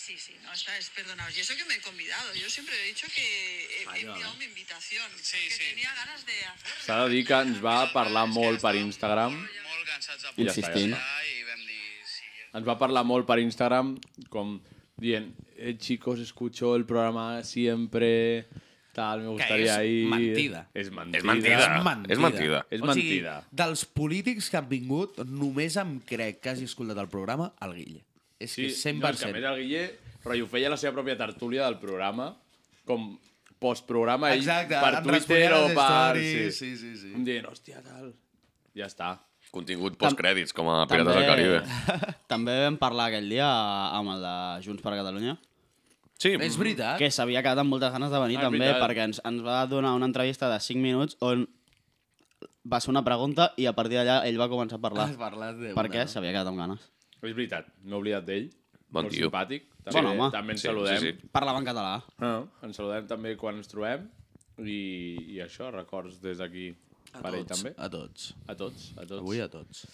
Sí, sí, no, estáis perdonados. Y eso que me he convidado. Yo siempre he dicho que he, he enviado mi invitación. que tenía ganas de hacer.
S'ha de dir que ens va parlar molt per Instagram.
Molt cansats de
I ja està, ja
Insistint.
està.
i
ens va parlar molt per Instagram, com dient, eh, chicos, escucho el programa siempre, tal, me gustaría
és
ir...
mentida.
És mentida.
És mentida.
És
O sigui,
mentida.
dels polítics que han vingut, només em crec que hagi escoltat el programa el Guille. És
Sí,
que 100%.
No, és que a més el Guille rotllo, feia la seva pròpia tertúlia del programa, com postprograma, ell
Exacte,
per
em
Twitter
responia
o
a les
per...
stories, sí, sí, sí.
Em dient, hòstia, tal... Ja està.
Contingut postcrèdits, com a Pirates del Caribe.
També vam parlar aquell dia amb el de Junts per Catalunya.
Sí.
És veritat.
Que s'havia quedat amb moltes ganes de venir
Ah, és
també,
veritat.
perquè ens, ens va donar una entrevista de 5 minuts on va ser una pregunta i a partir d'allà ell va començar a parlar.
Has parlat de una,
Perquè
no?
s'havia quedat amb ganes.
És veritat, m'he oblidat d'ell.
Bon
molt
tio.
simpàtic.
Sí.
També,
Bon home.
també ens
Sí,
saludem.
sí, sí. Parlava en català.
Ah, ens saludem també quan ens trobem. I, i això, records des d'aquí
A
per ell
tots,
també.
a tots.
A tots, a tots.
Avui a tots.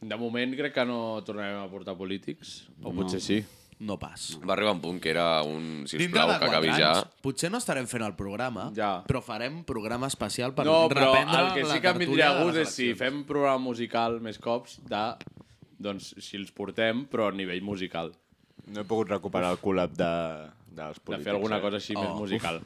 De moment crec que no tornarem a portar polítics. O
No.
potser sí.
No pas.
Va arribar un punt que era un,
Dintre
sisplau,
de
que acabi
quatre
ja.
anys, potser no estarem fent el programa,
ja.
però farem programa especial per
no, però
reprendre
el que sí que em vindria a gust és
si...
si fem programa musical més cops de... Doncs si els portem, però a nivell musical.
No he pogut recuperar el col·lab de, dels polítics.
de fer alguna
eh?
cosa així més musical.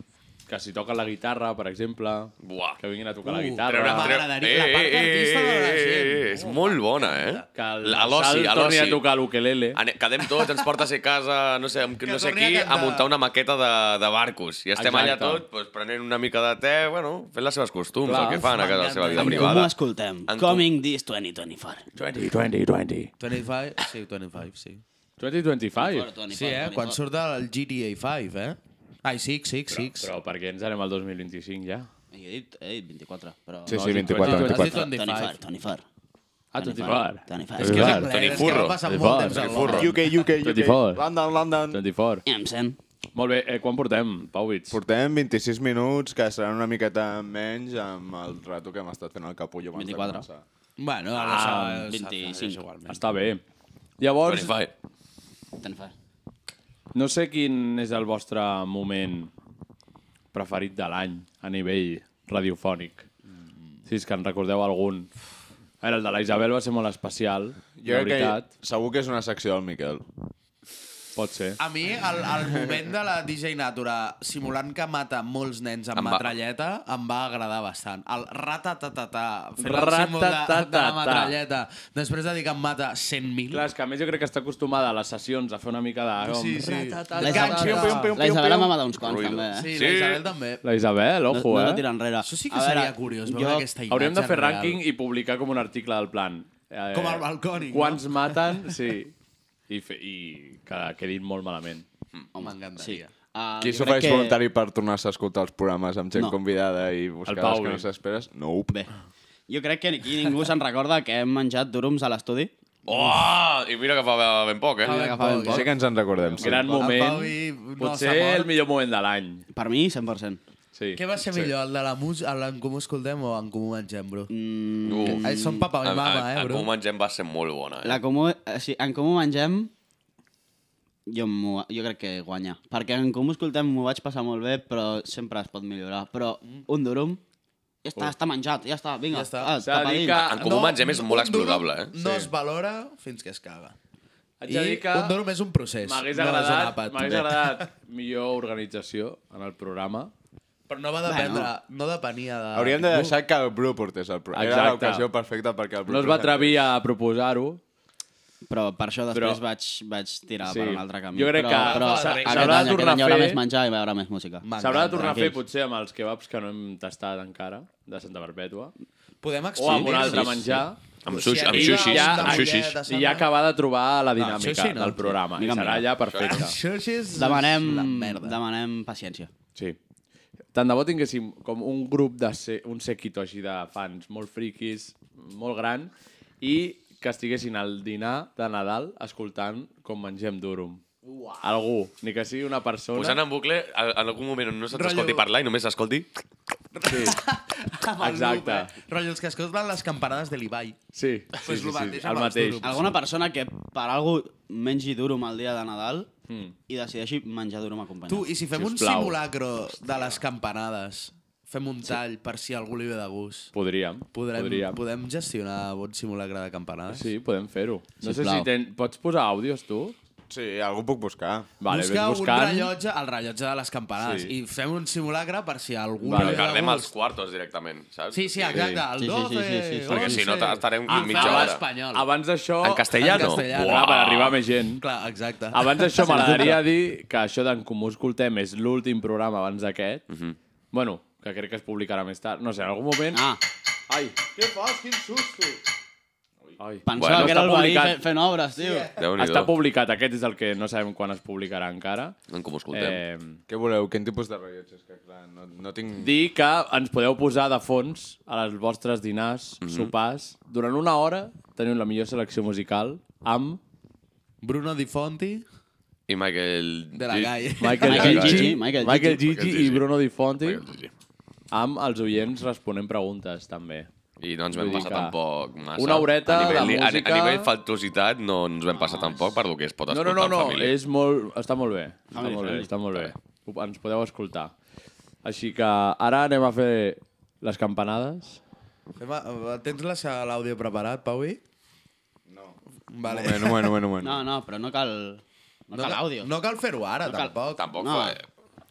Que si toquen la guitarra, per exemple, Buah. que vinguin a tocar la
Uh,
guitarra.
treure- treure- M'agradaria la part d'artista de la gent. És molt bona, eh?
Que el
A l'oci,
Sal
a
torni
l'oci.
a tocar l'ukelele.
Ane- Quedem tots, ens portes a casa, no sé, amb, no sé
torni a
qui, a
cantar.
muntar una maqueta de, de barcos. I estem
Exacte.
allà tot, pues, prenent una mica de te, bueno, fent les seves costums,
Clar.
el que fan a casa, la seva vida
En
privada.
comú escoltem. Coming this 2024.
2020.
25, sí, 25, sí.
2025?
Sí, eh? Quan surt el GTA 5, eh? Ai, 6, 6, 6.
Però per què ens anem al 2025 ja?
Jo he dit, he dit 24, però...
Sí, sí, 24,
has dit
24.
Tony Far, Tony Far.
Ah, 24.
Tony Far.
És que és anglès, Tony és que Furro. va passar Tony molt Furro. temps a Tony Furro. UK, UK, UK. 24.
London, London.
24.
Em sent.
Molt bé, eh, quan portem, Pauwitz?
Portem 26 minuts, que seran una miqueta menys amb el rato que hem estat fent el capullo
24.
abans de començar.
Bueno,
Ah,
Ah, 25.
Està bé. Llavors,
Tony Far.
Ah,
no sé quin és el vostre moment preferit de l'any a nivell radiofònic.
Mm.
Si és que en recordeu algun. A veure, el de la Isabel va ser molt especial,
Jo
de
crec
veritat. Ah,
que segur que és una secció del Miquel.
Pot ser.
A mi, el, el moment de la DJ Natura simulant que mata molts nens amb
Em va-
matralleta em va agradar bastant. El ratatatata, fent el
Ratatatata.
símbol de, de la matralleta. Després de dir que em mata 100.000...
Clar, és que a més jo crec que està acostumada a les sessions a fer una mica de... com-
Sí, sí.
ratatata.
La Isabel-
Pium, pium, pium,
La
pium,
Isabel em
pium.
va matar uns quants,
Ruido.
també, eh?
Sí, la Isabel també.
La Isabel, ojo,
no,
eh?
No la tira enrere. Això
sí que seria curiós, veure aquesta imatge
Hauríem de fer
real.
rànquing i publicar com un article del plan. Eh,
Com el Balcònic,
Quants
no?
maten, sí. I, fe, i que quedin molt malament.
Oh, M'encantaria.
Sí. Uh,
Qui s'ofereix que... voluntari per tornar-se a escoltar els programes amb gent
No.
no. convidada i buscar
El Pau, eh?
les que
bé.
no s'esperes? Nope.
Bé. Jo crec que aquí ningú se'n recorda que hem menjat durums a l'estudi.
Oh! I mira que fa ben poc, eh?
Mira que fa ben poc.
Sí que ens en recordem. sí.
Gran moment. Potser el millor moment de l'any.
Per mi, 100%.
Sí.
Què va ser millor, el de la mus, el en comú escoltem o en comú mengem, bro?
Mm,
Eh, Són papa i mama, eh,
En
bro?
Comú Mengem va ser molt bona, eh?
La comú, eh, sí, en comú mengem, jo, m'ho- jo crec que guanya. Perquè en comú escoltem m'ho vaig passar molt bé, però sempre es pot millorar. Però
Mm.
un durum, ja està, està menjat, ja està, vinga.
Ja està.
Ah,
S'ha de
cap a
dir
dins.
que-
En Comú
No,
Mengem és molt
un duro
explotable, eh?
No es valora fins que es caga.
Haig
I
de dir que
un durum és un procés.
M'hagués
no és un
agradat,
àpat.
m'hagués agradat millor organització en el programa.
Però no va dependre, no depenia de...
Hauríem de
Ah, ningú.
deixar que el Bru portés el programa. Era
Exacte.
l'ocasió perfecta perquè el Bru...
No es va atrevir a proposar-ho.
Però per això
Però-
després però... vaig, vaig tirar
Sí.
sí. per un altre camí.
Jo crec
però,
que
però
s'ha-
aquest
s'haurà
any,
de
aquest
tornar
any
a
hi haurà
fer-
més menjar i hi haurà més música.
S'haurà de tornar a fer
Tranquils.
potser amb els kebabs que no hem tastat encara, de Santa Perpètua.
Podem
O amb un
explicar-ho.
altre
Sí, sí.
menjar.
Amb sushi- amb
I
sushis,
Ja,
amb sushis.
I ja acabar de trobar la dinàmica
sushi no.
del programa. I
Vinga,
serà
vinga.
ja perfecta.
Això sí és...
Demanem,
la merda.
demanem paciència.
Sí. Tant de bo tinguéssim com un grup de se un sequito així de fans molt friquis, molt gran, i que estiguessin al dinar de Nadal escoltant com mengem durum. Uau. Algú, ni que sigui una persona...
Posant en bucle, en en algun moment on no se't escolti parlar i només s'escolti...
Sí,
Amb el
Exacte.
loop, eh? Rotllo, els que escolten les campanades de l'Ibai.
sí, sí,
Pues
sí,
lo
sí,
mateix amb
el
els
mateix.
durums.
Alguna persona que per algú mengi durum el dia de Nadal
Mm.
i decideixi menjar durum acompanyat.
Tu, i si fem un
Sisplau.
simulacro de les campanades, Fem un tall per si a algú li ve de gust.
Podríem.
Podrem,
podríem.
podem gestionar bon simulacre de campanades?
Sí, podem fer-ho. No sé
Sisplau.
si ten... pots posar àudios, tu?
Sí, algú puc buscar.
Vale,
Busca
ves
un
buscant.
rellotge, el rellotge de les campanades,
Sí.
i fem un simulacre per si a algú
Vale.
li ve de
Encarnem els
gust.
quartos directament, saps?
Sí, sí, exacte, el eh, Sí, sí, sí, 12, sí, sí, sí.
Perquè si no
11.
estarem
Ah,
mitja
fava
hora.
espanyol.
Abans d'això...
En castellà, no?
Clar, per arribar a més gent.
Clar, exacte.
Abans d'això m'agradaria dir que això d'en Comú Escoltem és l'últim programa abans d'aquest.
Mhm.
Bueno, que crec que es publicarà més tard. No sé, en algun moment... Ah. Ai. Què fas? Quin susto! Ai.
Pensava que
està
era el veí
publicat.
fent, fent obres, tio.
Déu-n'hi-do.
Està publicat. Aquest és el que no sabem quan es publicarà encara.
En Comú Escoltem.
Què voleu? Quin tipus de
rellotges? Que, clar, no, no tinc...
Dir que ens podeu posar de fons a les vostres dinars, mm -hmm.
Mhm.
sopars. Durant una hora teniu la millor selecció musical amb...
Bruno Di Fonti.
I Michael...
De la
Gi-
Gaia.
Michael, Michael Gigi, Michael, Michael Gigi,
Michael
i Bruno Di Fonti amb els oients responent preguntes, també.
I no ens vam
Vull dir
passar
que
tampoc massa.
Una horeta
a nivell,
de
a-
música...
A, nivell faltositat no ens vam passar tampoc per lo que es pot
No,
escoltar
no, no, no.
en família.
És molt, està molt bé. Està
Family
molt bé,
friendly.
està molt bé. Ho- Ens podeu escoltar. Així que ara anem a fer les campanades.
Fem a- Tens la- l'àudio preparat, Paui? No. Vale.
Bueno, bueno, bueno, bueno.
No, no, però no cal... No, cal àudio.
No cal fer-ho ara,
No
no
cal-
tampoc.
tampoc, No. eh.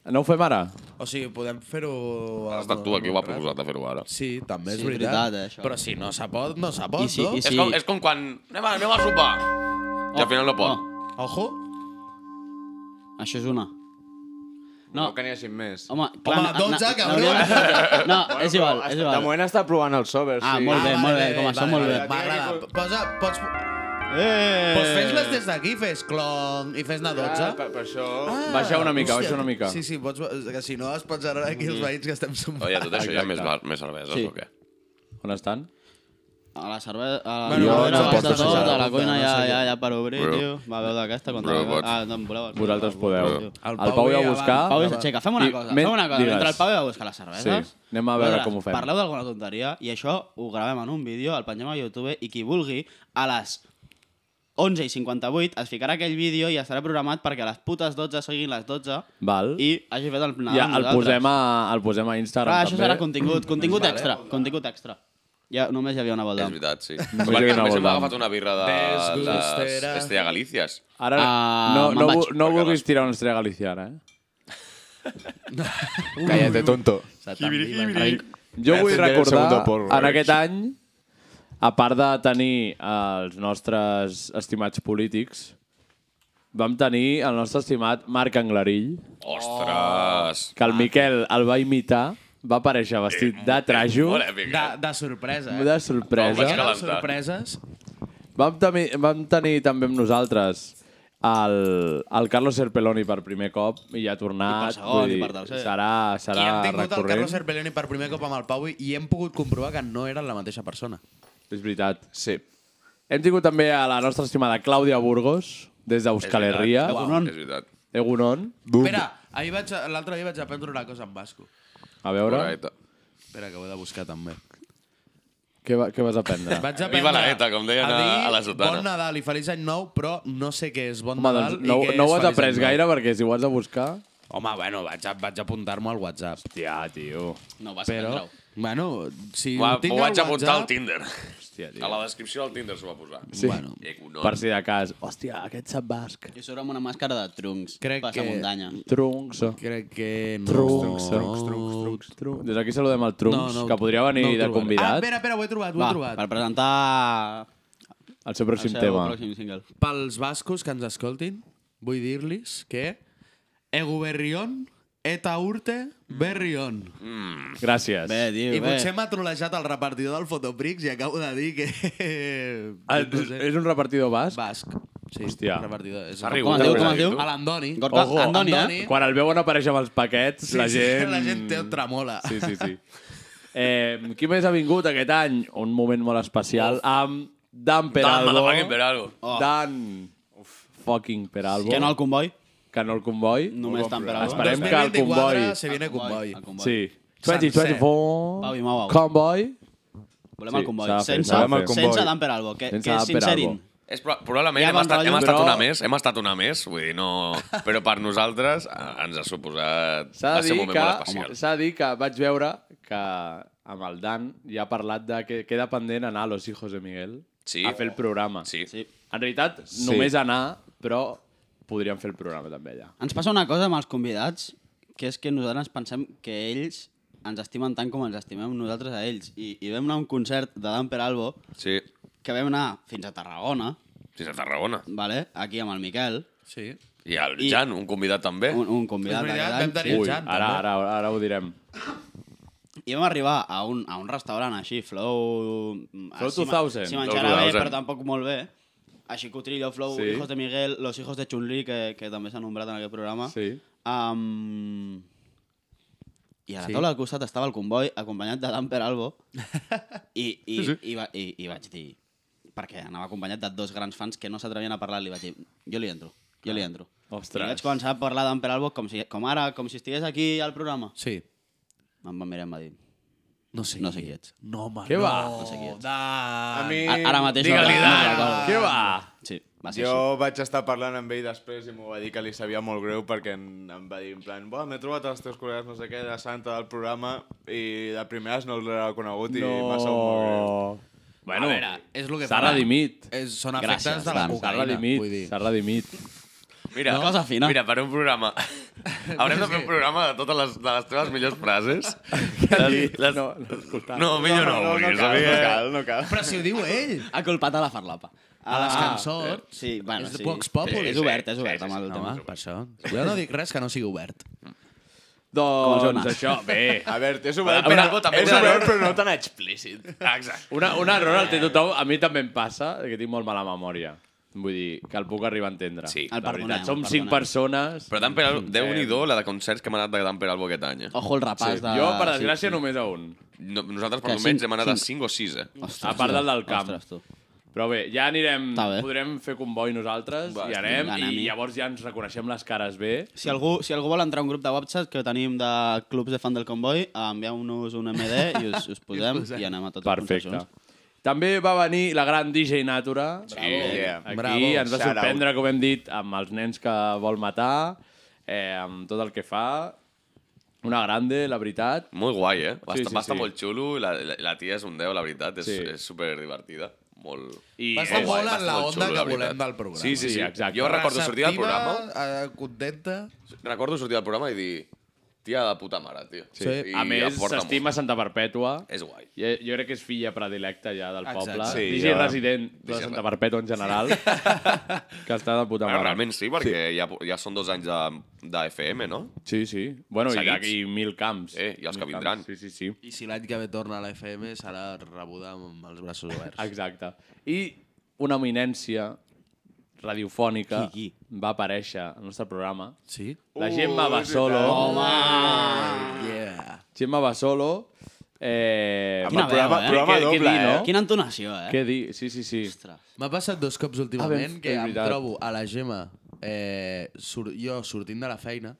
No ho fem ara?
O sigui, podem fer-ho...
Has estat tu el que ho ha proposat de fer-ho ara.
Sí, també és
Sí,
veritat.
veritat, eh, això.
Però si no se pot, no se pot,
si-
no?
i si- És com- és com quan... Anem a, anem a sopar.
Oh.
I al final no pot.
Ojo.
Això és una.
No, que n'hi hagi més.
Home,
clar,
Home, na- 12, na- cabrón.
cabrón!
No, és igual, és igual.
De moment està provant el sober,
Ah,
sí.
molt bé, molt bé, com a som molt bé.
M'agrada. Posa... Pots...
Eh!
Pues fes-les des d'aquí, fes clon i fes-ne 12.
Ah, per, per això...
Baixa una mica, baixa una mica.
Sí, sí, pots, que si no es pot generar aquí els veïns que estem sumant.
Oye, Oh, tot això hi ha més, bar- més cerveses
Sí.
o què?
On estan?
A la cervesa... A la
Bueno,
bueno,
no, no,
no, no,
no,
tot,
no,
a la
no,
cuina
no,
ja,
no sé
ja,
què.
ja per obrir,
Bro.
tio. Va, veu d'aquesta contra...
Bro, pots.
Ah, no em voleu...
Vosaltres podeu.
tio.
El Pau ve Ah, a buscar...
El Pau ja s'aixeca. Fem una
I
cosa,
men-
fem una cosa.
digues.
Mentre el Pau ve a buscar les cerveses...
Sí, anem a veure
vosaltres
com ho fem.
Parleu d'alguna tonteria i això ho gravem en un vídeo, el pengem a YouTube i qui vulgui, a les 11 i 58 es ficarà aquell vídeo i estarà programat perquè a les putes 12 siguin les 12
Val.
i hagi fet el Nadal
Ja,
amb
el
nosaltres.
posem a, el posem a Instagram,
Clar,
també.
això serà contingut, contingut
Vale.
extra, contingut extra. Ja, només hi havia una volta.
És veritat, sí.
No
Perquè
lleguen a
només hem
Boldam.
agafat una birra de les
Desgustera.
Estrella Galícies.
Ara,
Ah,
no, no, no, no vulguis tirar una estrella galiciana, eh?
Cállate, tonto.
Jibiri, jibiri.
Arrenca.
Jo vull
Encender el
recordar,
segundo porro,
en
eh?
aquest any, a part de tenir els nostres estimats polítics, vam tenir el nostre estimat Marc Anglarill,
Ostres!
que
Ah.
el Miquel el va imitar, va aparèixer vestit de
Eh,
trajo,
Molt èpic, eh?
De, de sorpresa, eh?
de sorpresa.
de sorpreses.
Vam, tenir, vam tenir també amb nosaltres el, el Carlos Serpeloni per primer cop i ja ha tornat.
I per segon, i
vull dir,
per tercer.
Serà, serà
I hem tingut el
recurrent.
Carlos Cerpeloni per primer cop amb el Pau i hem pogut comprovar que no era la mateixa persona.
És veritat.
Sí.
Hem tingut també a la nostra estimada Clàudia Burgos, des d'Euskal
És veritat.
Herria.
Egunon.
És veritat.
Egunon.
Espera, ahir vaig a- l'altre dia vaig aprendre una cosa en basco.
A veure,
Espera, que ho he de buscar també.
què, va, què vas aprendre?
Vaig aprendre
Viva la ETA, com deien a,
dir
a la
Bon
sotana.
Nadal i Feliç Any Nou, però no sé què és Bon
Home,
Nadal
doncs, no,
i què
no
és
ho has
Feliç
après
Any Nou.
gaire, perquè si ho has de buscar...
Home, bueno, vaig, a- vaig apuntar-me al WhatsApp.
Hòstia, tio.
No vas
Però, bueno, si
Va,
ho tinc
ho vaig
al
apuntar al
WhatsApp...
Tinder.
Hòstia,
A la descripció del Tinder s'ho va posar.
Sí.
Bueno. Egunon.
Per si de cas. Hòstia, aquest sap basc.
Jo sóc amb una màscara de truncs.
Crec
passa
que-
muntanya.
Trunks.
Crec que no.
Trunks. Trunks, trunks, trunks, trunks. Des d'aquí saludem el Trunks,
No, no,
que podria venir
no ho
de
trobaré.
Ah,
convidat.
espera, espera, ho he trobat, ho
Va,
he trobat.
per presentar
el seu pròxim
el seu
tema.
pròxim single.
Pels bascos que ens escoltin, vull dir-los que Ego Berrión, Eta Urte, Berrión.
Mm.
Gràcies.
Bé, tio,
I
bé.
potser m'ha trolejat el repartidor del Fotoprix i acabo de dir que...
Ah,
no sé.
És un repartidor basc?
Basc. Sí,
Hòstia.
repartidor. És
S'ha
un-
rigut, Com es diu, eh? com es diu?
A l'Andoni.
Gorka, eh?
Ojo, Quan el veuen aparèixer amb els paquets,
Sí,
la
sí,
gent...
la gent té- tremola.
Sí, sí, sí. Eh, qui més ha vingut aquest any? Un moment molt especial amb Dan Peralbo.
motherfucking Peralbo. Oh.
Dan fucking Peralbo.
Que no al comboi.
Que no el comboi.
Només Dan Peralbo.
Esperem que el comboi...
Se viene comboi.
Sí.
Sencer.
2024.
Pau i Mau.
Comboi.
Volem el comboi.
s'ha de fer,
Sense,
s'ha de fer.
sense Dan Peralbo, que,
Sense
que
Dan Peralbo.
sincerin.
És, pro- probablement
Ja
hem
bon
estat, hem
rotllo,
estat
però-
una més, hem estat una més, vull dir, no... Però per nosaltres eh, ens ha suposat...
S'ha
va
de
ser un
dir
moment
que,
molt especial.
s'ha de dir que vaig veure que amb el Dan ja ha parlat de que queda pendent anar a Los Hijos de Miguel
Sí.
a fer el programa.
Sí.
En realitat,
Sí.
només anar, però podríem fer el programa també allà.
Ens passa una cosa amb els convidats, que és que nosaltres pensem que ells ens estimen tant com ens estimem nosaltres a ells. I, i vam anar a un concert de Dan Peralbo,
sí.
que vam anar fins a Tarragona.
Fins a Tarragona.
Vale, aquí amb el Miquel.
Sí.
I el Jan, un convidat també.
Un, un convidat. d'aquest any, sí.
Ui, ara, ara, ara, ara ho direm.
I vam arribar a un, a un restaurant així, Flow... mm,
Flow
si ma-
2000.
Si menjava bé,
2000.
però tampoc molt bé. Així cotrillo, Flow,
Sí.
sí. Hijos de Miguel, Los Hijos de Chun-Li, que, que també s'ha nombrat en aquest programa.
Sí.
Um, I a la
Sí.
taula al costat estava el comboi acompanyat de Dan Peralbo. I, i, sí. i, va, i, I vaig dir... Perquè anava acompanyat de dos grans fans que no s'atrevien a parlar, li vaig dir, jo li entro, jo li entro.
Ostres.
I vaig començar a parlar d'en Peralbo com, si, com ara, com si estigués aquí al programa.
Sí.
Em va mirar i em va dir...
No sé,
no sé qui ets.
No, home,
Què
no.
va? No sé qui ets.
Dan.
A mi- Ara- Ah, ara mateix no-
Digue-li,
no
Dan.
recordo. Què va? Sí, va ser
jo vaig estar parlant amb ell després i m'ho va dir que li sabia molt greu perquè en- em va dir en plan, "Buah, m'he trobat els teus col·legues no sé què de Santa del programa i de primeres no l'he conegut i m'ha sabut molt greu.
Bueno,
A veure,
és lo que
s'ha
fa.
redimit.
És- són efectes Gràcies, de la Dan.
S'ha
cocaïna,
redimit,
vull dir.
s'ha redimit.
Mira,
No cosa fina.
mira, per un programa... Haurem de fer un programa de totes les, de les teves millors frases. Les, les... No, no, no, millor no, eh? no, no, no,
cal, no cal, no cal.
Però si ho diu ell.
Ha culpat a la farlapa.
A les cançons.
eh, Sí, bueno,
és de
sí.
Vox Populi.
És obert, és obert amb el
no,
tema.
home, per això. Jo no dic res que no sigui obert.
Doncs això, bé.
A veure, és
Una-
obert, però,
una- també
és
té
obert,
valor.
però no tan explícit.
Exacte.
Una, un error el té tothom. A mi també em passa, que tinc molt mala memòria. Vull dir, que el puc arribar a entendre. Sí.
El
La veritat,
perdoneu,
som
el
cinc
perdoneu.
persones...
Però Dan Peral, déu
Eh,
nhi do la de concerts que hem anat de Dan Peralbo aquest any.
Oh.
eh?
Ojo el rapàs de-
Jo, per desgràcia,
sí, sí.
només a un.
No, nosaltres,
Que
per almenys,
cinc-
hem anat a
cinc.
5
Oh.
o 6, eh?
a part del del camp. Però bé, ja anirem...
Està bé.
Podrem fer comboi nosaltres,
Va,
i anem,
anem-hi.
i llavors ja ens reconeixem les cares bé.
Si algú, si algú vol entrar a un grup de WhatsApp que tenim de clubs de fan del convoi, envieu-nos un MD i us, us posem i,
posem.
anem a tots
Perfecte.
junts.
També va venir la gran DJ Natura.
Sí. Yeah.
Aquí
Bravo.
ens va
Shout
sorprendre, com hem dit, amb els nens que vol matar, eh, amb tot el que fa. Una grande, la veritat.
Molt guai, eh? Va, sí,
Sí,
estar,
sí,
va estar
sí.
molt xulo, la, la, la tia és un 10, la veritat, és,
Sí.
sí. és superdivertida. Molt...
I
Va estar
molt
molt
guai, va
en la
molt
onda
xulo,
que
la veritat.
volem del programa.
Sí, sí, sí,
Sí, exacte.
Jo recordo sortir del
Receptiva,
programa,
eh, contenta.
recordo sortir del programa i dir tia de puta mare, tio. I
a més,
aporta molt.
s'estima Santa Perpètua.
És guai.
Jo, jo crec que és filla predilecta ja del
Exacte.
poble.
Sí,
DJ
ja.
resident de
DJ
Santa
re-
Perpètua en general. que està de puta
Bueno,
mare.
Eh, realment sí, perquè sí. Ja, ja són dos anys de, de FM, no?
Sí, sí. Bueno, i
Seguits.
d'aquí mil camps.
Eh, i els que
Mil
vindran.
camps, Sí, sí, sí.
I si l'any que ve torna a la FM serà rebuda amb els braços oberts.
Exacte. I una eminència radiofònica qui, qui? va aparèixer al nostre programa.
Sí?
La
Uh,
Gemma
és
Basolo.
veritat.
Home!
Yeah.
Gemma Basolo. Eh,
Quina
va-
veu, eh? Programa
què- què
doble,
dir,
eh? Quina entonació, eh?
Què dir? Sí, sí, sí.
M'ha passat dos cops
Ah,
últimament
ben-
que
és
em
veritat.
trobo a la Gemma, eh, sur jo sortint de la feina,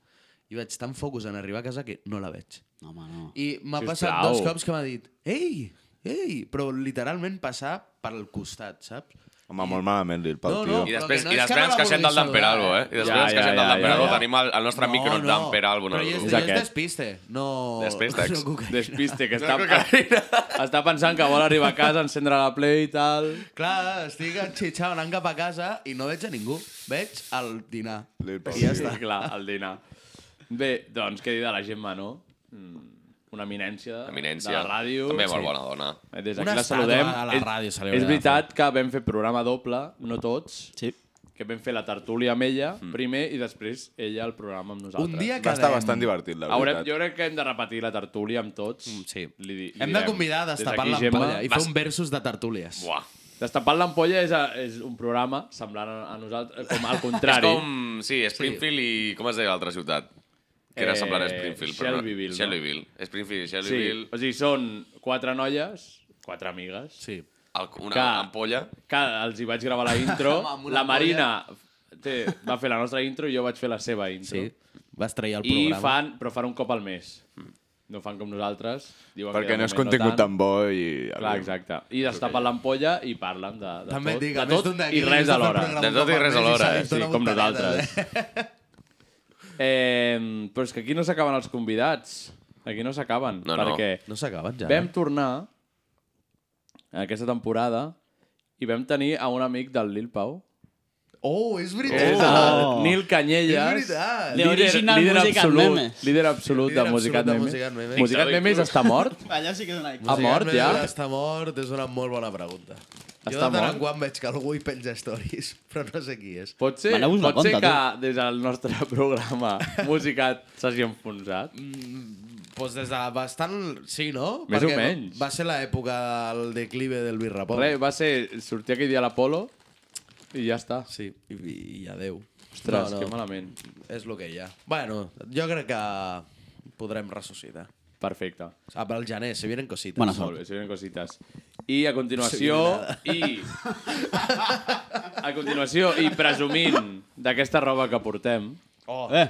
i vaig tan focus en arribar a casa que no la veig.
Home, no.
I m'ha
Sisplau.
passat dos cops que m'ha dit ei, ei, però literalment passar pel costat, saps?
Home, molt malament li el pau,
No,
tio.
no,
I després,
que no
i
és que
després
no
ens
la
queixem del
vulgui
Dan Peralbo, eh? I
saludar, eh?
després
Ja,
ens queixem
ja,
del Dan
ja,
Peralbo.
ja.
Tenim el, el nostre
No,
micro
no.
Dan Peralbo. en
Però
el
i és,
grup.
és, és despiste, no...
Despiste.
no cocaïna.
Despiste, que
No
està, està pensant que vol arribar a casa, encendre la play i tal.
Clar, estic enxitxat anant cap a casa i no veig a ningú. Veig el dinar.
I ja està. Clar, el dinar. Bé, doncs, què dir de la Gemma, no? Mm, Una eminència,
Eminència.
de la ràdio.
També molt bona dona.
Eh, Des
Una
d'aquí la
estàtua
saludem.
a la
És-
ràdio se li
És
hauria de
veritat que vam fer programa doble, no tots.
Sí.
Que vam fer la tertúlia amb ella, primer, i després ella el programa amb nosaltres.
Un dia
Va estar bastant divertit, la
Haurem,
veritat.
jo crec que hem de repetir la tertúlia amb tots. Mm, Sí. Li, di- li
Hem de
direm.
convidar a
Des
destapar
d'aquí,
l'ampolla
Gemma,
i fer un versus de tertúlies.
Buah.
Destapant l'ampolla és, a- és un programa semblant a, a nosaltres, com al contrari.
És com, sí, Springfield i... Com es deia l'altra ciutat? Que era
Eh,
semblant a Springfield. però no-
Shelbyville, no?
Shelbyville. Springfield i Shelbyville.
Sí, o sigui, són quatre noies, quatre amigues.
Sí.
El, una ampolla.
Que els hi vaig gravar la intro.
Amb una
la
ampolla.
Marina té, va fer la nostra intro i jo vaig fer la seva intro.
Sí, vas trair el
I
programa.
fan, però fan un cop al mes. No fan com nosaltres. Diuen que
Perquè
de
no és
moment
contingut
tant.
tan bo i...
Clar, exacte. I destapen l'ampolla i parlen de, de
També et
tot,
dic, a
de
més
tot
d'un d'aquí
i
li
res
has de fer
alhora.
el programa De tot un eh. i cop res al mes i alhora, se li eh?
Sí,
dona
com Eh,
voltaretes,
nosaltres. Eh? però és que aquí no s'acaben els convidats. Aquí no s'acaben.
No, no.
perquè
No s'acaben, ja.
Vam tornar a aquesta temporada i vam tenir a un amic del Lil Pau.
Oh, és
És
veritat!
el Nil Canyelles.
És veritat!
Líder-
L'original
líder
Musicat
absolut,
Memes.
Líder absolut
Líder
de Musicat
absolut de
Memes.
Musicat Memes.
Musicat
Xavi
Memes
Cruz.
està mort?
Allà sí que és una
Ha mort, ja?
Està mort, és una molt bona pregunta. Jo de
Està
tant
mort?
en quan veig que algú hi penja stories, però no sé qui és.
Pot ser, pot
Maneu-vos-la
ser
conta,
que des del nostre programa Musicat s'hagi enfonsat.
Mm. Pues des de bastant... Sí, no?
Més
Perquè
o menys.
Va ser l'època del declive del Birrapó.
Re, va ser sortir aquell dia a l'Apolo i ja està.
Sí, i, i adeu.
Ostres, que malament.
És el que hi ha. Bueno, jo crec que podrem ressuscitar.
Perfecte.
Ah, pel gener, se vienen cositas.
Bona sort. Molt bé, se vienen cositas. I a continuació,
Sí,
i... A continuació, i presumint d'aquesta roba que portem,
oh.
eh,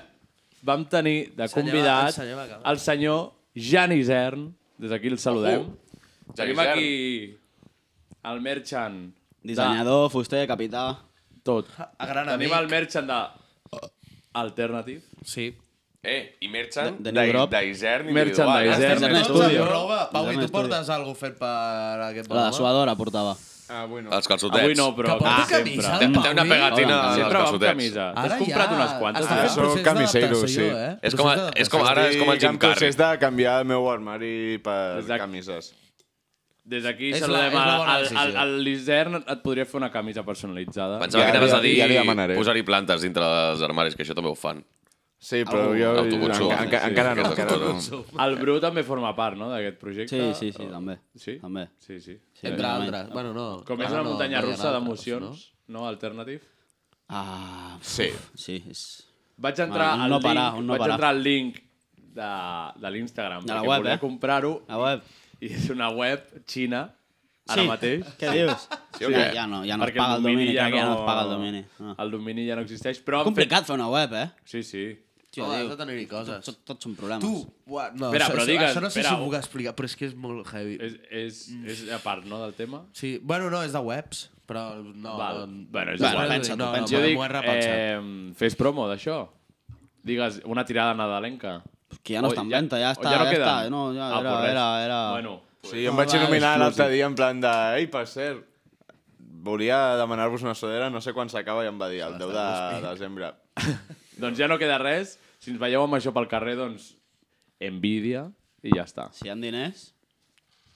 vam tenir de
Senyor- el
convidat
senyor Bacalà.
el senyor Jan Isern. Des d'aquí el
Oh,
saludem.
Jan
Tenim
Isern.
aquí el merchant. de-
Dissenyador, fuster, capità...
Tot.
A gran
Tenim
amic.
el merchant de Alternative.
Sí.
Eh, i Merchant
De- de New Drop.
d'Isern
Merchant
individual. eh?
d'Isern
Estem tots
Studio.
amb roba.
Roba, Pau,
Ja
i
m'he
tu portes alguna fet per aquest
La de suadora portava.
Ah, avui
Els calçotets.
Avui no, però
Que porti
com sempre.
camisa,
Té-
el
Té una
Pau,
pegatina
Hola,
als
sempre va amb
calçotets.
camisa. T'has comprat unes quantes,
Està
eh?
fent procés d'adaptació, eh?
És com,
Procés
és com, ara és com el
Estic
Jim
en
Carrey.
procés de canviar el meu armari per
Exacte.
camises.
Des d'aquí
És la-
saludem
és la
a-
bona
al- al-
decisió.
al l'Isern. Et podria fer una camisa personalitzada.
Pensava que anaves a dir
ja li demanaré.
posar-hi plantes dintre dels armaris, que això també ho fan.
Sí, però jo-
Autoconsum.
enca- enca- encara no,
Aquestes
encara no.
coses.
El Bru també forma part, no?, d'aquest projecte.
Sí, sí, sí, també.
Sí?
També.
Sí, sí. sí
Entre altres. Bueno, no.
Com és
ara
una
no,
muntanya
no hi ha
russa
altres,
d'emocions, no? Alternative.
Ah,
Sí.
Sí, és...
Vaig entrar
Bueno,
al
un no
link,
parar, un no
vaig
parar.
entrar al link de, de l'Instagram.
De la
perquè
web,
volia
eh?
comprar-ho.
La web.
I és una web xina, ara
Sí,
mateix.
què dius? Sí o
Sí.
què? Ja no- ja no es
Perquè
paga el
domini
domini, crec que ja no es paga el domini. Ah.
El domini ja no existeix, però... han
Complicat
fet-
fer una web, eh?
Sí, sí.
Tio,
Home,
diu,
has de tenir-hi coses.
Tot, tot, tots són problemes.
Tu, buah, no,
Espera,
això,
però
això-
digues,
això no sé
espera,
si ho
un- Eh.
puc explicar, però és que és molt heavy.
És, és, és a part, no, del tema?
Sí, bueno, no, és de webs, però no...
Val.
no
Bueno, és
no,
igual.
no, no, no,
jo
m'ho he
dic,
repensat.
eh, fes promo d'això. Digues, una tirada nadalenca.
Pues Que ja no està en venda, ja està, ja
queden?
està, no, ja era-
Ah, res.
era- era-
pues Bueno,
Sí, jo em vaig il·luminar l'altre dia en plan de... Ei, per cert, volia demanar-vos una sudera, no sé quan s'acaba, i em va dir el 10 de desembre.
doncs ja no queda res. Si ens veieu amb això pel carrer, doncs envidia i ja està.
Si hi ha diners... pues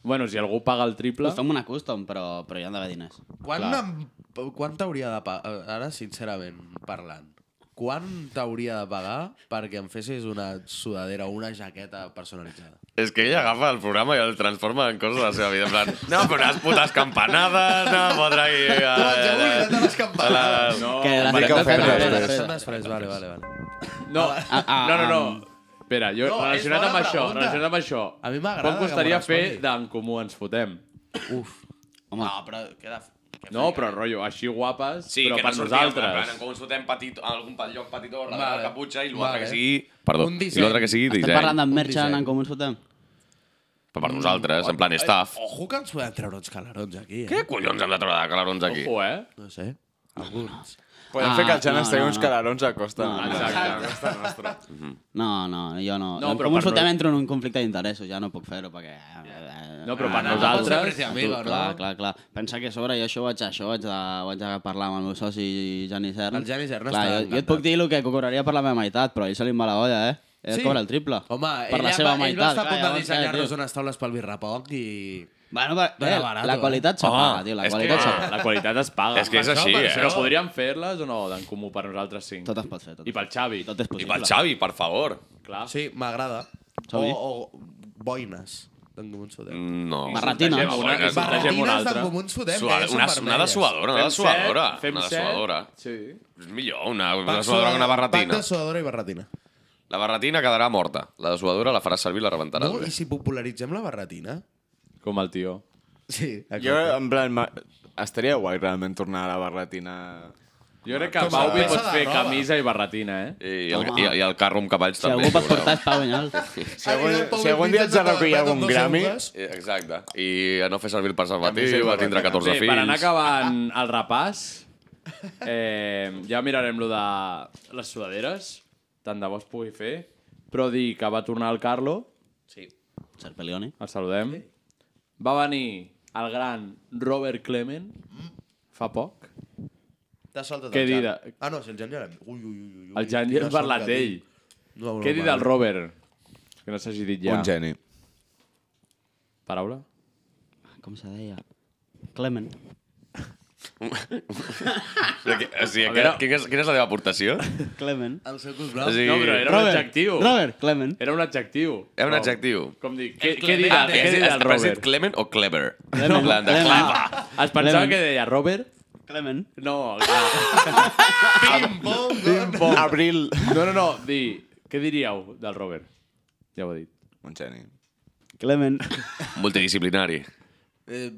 Bueno, si algú paga el triple...
Us fem una custom, però, però hi han d'haver diners.
Quan, em- quan t'hauria de pagar, ara sincerament parlant, quan t'hauria de pagar perquè em fessis una sudadera o una jaqueta personalitzada?
És que ell agafa el programa i el transforma en coses de la seva vida. En plan, no, però unes putes campanades, no, eh, fotre aquí... A,
de les
campanades. No,
Que les-
Marica
les-
Ferrer,
les-
després.
Són després, vale, vale, vale.
No, no, no,
Ah,
no. Espera, jo
No, és
relacionat amb
bona
això,
pregunta.
relacionat amb això,
A mi m'agrada
com
que
costaria
m'ho
fer
respongui.
d'en comú ens fotem?
Uf.
Home.
No, però queda... que
No,
frica.
però rotllo, així guapes,
Sí,
però
que
per
no sortia, en plan,
nosaltres.
en com ens fotem petit, a algun pa- lloc petitó, darrere
Vale.
la caputxa, i l'altre
Vale.
que sigui... Perdó,
Un
i
disseny.
l'altre que sigui
Estem
disseny.
parlant
Un
d'en Merchant,
disseny.
en com ens fotem?
Però per nosaltres, en plan staff.
oh.
Ojo que ens podem treure uns calarons aquí, eh?
Què collons hem de treure de calarons aquí?
Ojo, eh?
No sé. Alguns.
Podem
Ah,
fer que el Jan
no,
es tregui
no,
uns
no.
calarons a costa.
No,
nostra.
exacte.
A costa nostra.
No, no, jo
No,
no. no
però
com ens
per
fotem
no-
entro en un conflicte d'interessos, ja no puc fer-ho perquè... eh,
No, però per
no,
nosaltres-
no, no, no, amigo, no?
Clar, clar, clar. Pensa que a sobre jo això ho haig, això ho haig, de, ho haig de parlar amb el meu soci Jani Cern.
El Jani Cern està
clar, jo, jo et
encantat.
puc dir el que cobraria per la meva meitat, però a ell se li va la olla, eh? Ell
Sí.
sí. cobra el triple.
Home,
per la
ella
seva
va- ell va
meitat.
estar a punt de
llavors, eh,
dissenyar-nos
tio?
unes taules pel birrapoc i...
Bueno, va,
Però
eh,
era barato,
la
eh?
qualitat se
Home,
paga, tio, la
és que-
qualitat se paga.
La qualitat es paga.
És que és
Per això,
així,
per
eh?
Però
això.
podríem fer-les o no, d'en comú per nosaltres cinc?
Tot es pot fer, tot.
I pel Xavi.
Tot és
I
possible.
pel Xavi, per favor.
Clar.
Sí, m'agrada. O,
Xavi?
o boines. D'en Comú ens fotem.
No.
Barretines.
Sotagem una,
Mm. Barretines
sotagem una
Barretines d'en
altra.
Comú ens fotem.
Suada-
que ja són
una, una de
vermelles.
suadora, una de
Fem set,
suadora.
fem
Una de
set.
suadora.
Sí.
És millor una, una
Pac
de suadora que una barretina.
Pac de suadora i barretina.
La barretina quedarà morta. La de suadora la farà servir i la rebentarà.
No, I si popularitzem la barretina?
Com el tio.
Sí,
Jo, en plan, ma- estaria guai realment tornar a la barretina...
Jo crec que
Com
Pau
a
vi
peça
pot
de
fer
roba.
camisa i barretina, eh?
I el,
Home.
i, I el carro amb cavalls
Si
també.
algú pot
voleu.
portar és Pau Vinyal.
Si algun, si algun dia ets a recollir algun Grammy...
Eh, Exacte. I a no fer servir el
Camisa i
preservatiu, va tindre
barretina.
14
Bé,
fills.
per anar acabant el repàs, eh, ja mirarem lo de les sudaderes, tant de bo es pugui fer, però dir que va tornar el Carlo,
Sí. Serpelione.
El saludem. Va venir el gran Robert Clement fa poc.
T'has saltat
Què
el
dir
Jan. Ah, no, si el Jan ja l'hem... Ui, ui, ui, ui.
El Jan ja
quina
hem parlat
sort que
d'ell.
tinc. No, no,
Què he dit
vale.
del Robert? Que no s'hagi dit ja.
Un geni.
Paraula?
Com se deia? Clement.
O sigui,
A
que,
veure.
quina, és, quina és la teva aportació?
Clement.
El seu cos
blau. O sigui-
No, però era
Robert,
un adjectiu.
Robert, Clement.
Era un adjectiu.
Era un
No.
adjectiu.
Com dir, què,
El
què
Clement.
dirà,
Ah,
què
has-
dirà
has- has
el
dit
Robert?
Clement o clever?
Clement.
En plan de
Clement.
clever.
Es pensava
Clement.
que deia Robert?
Clement.
No. Pim-pom. Pim-pom.
Abril.
No, no, no. Di, què diríeu del Robert? Ja ho he dit.
Un geni.
Clement.
Multidisciplinari.
Eh,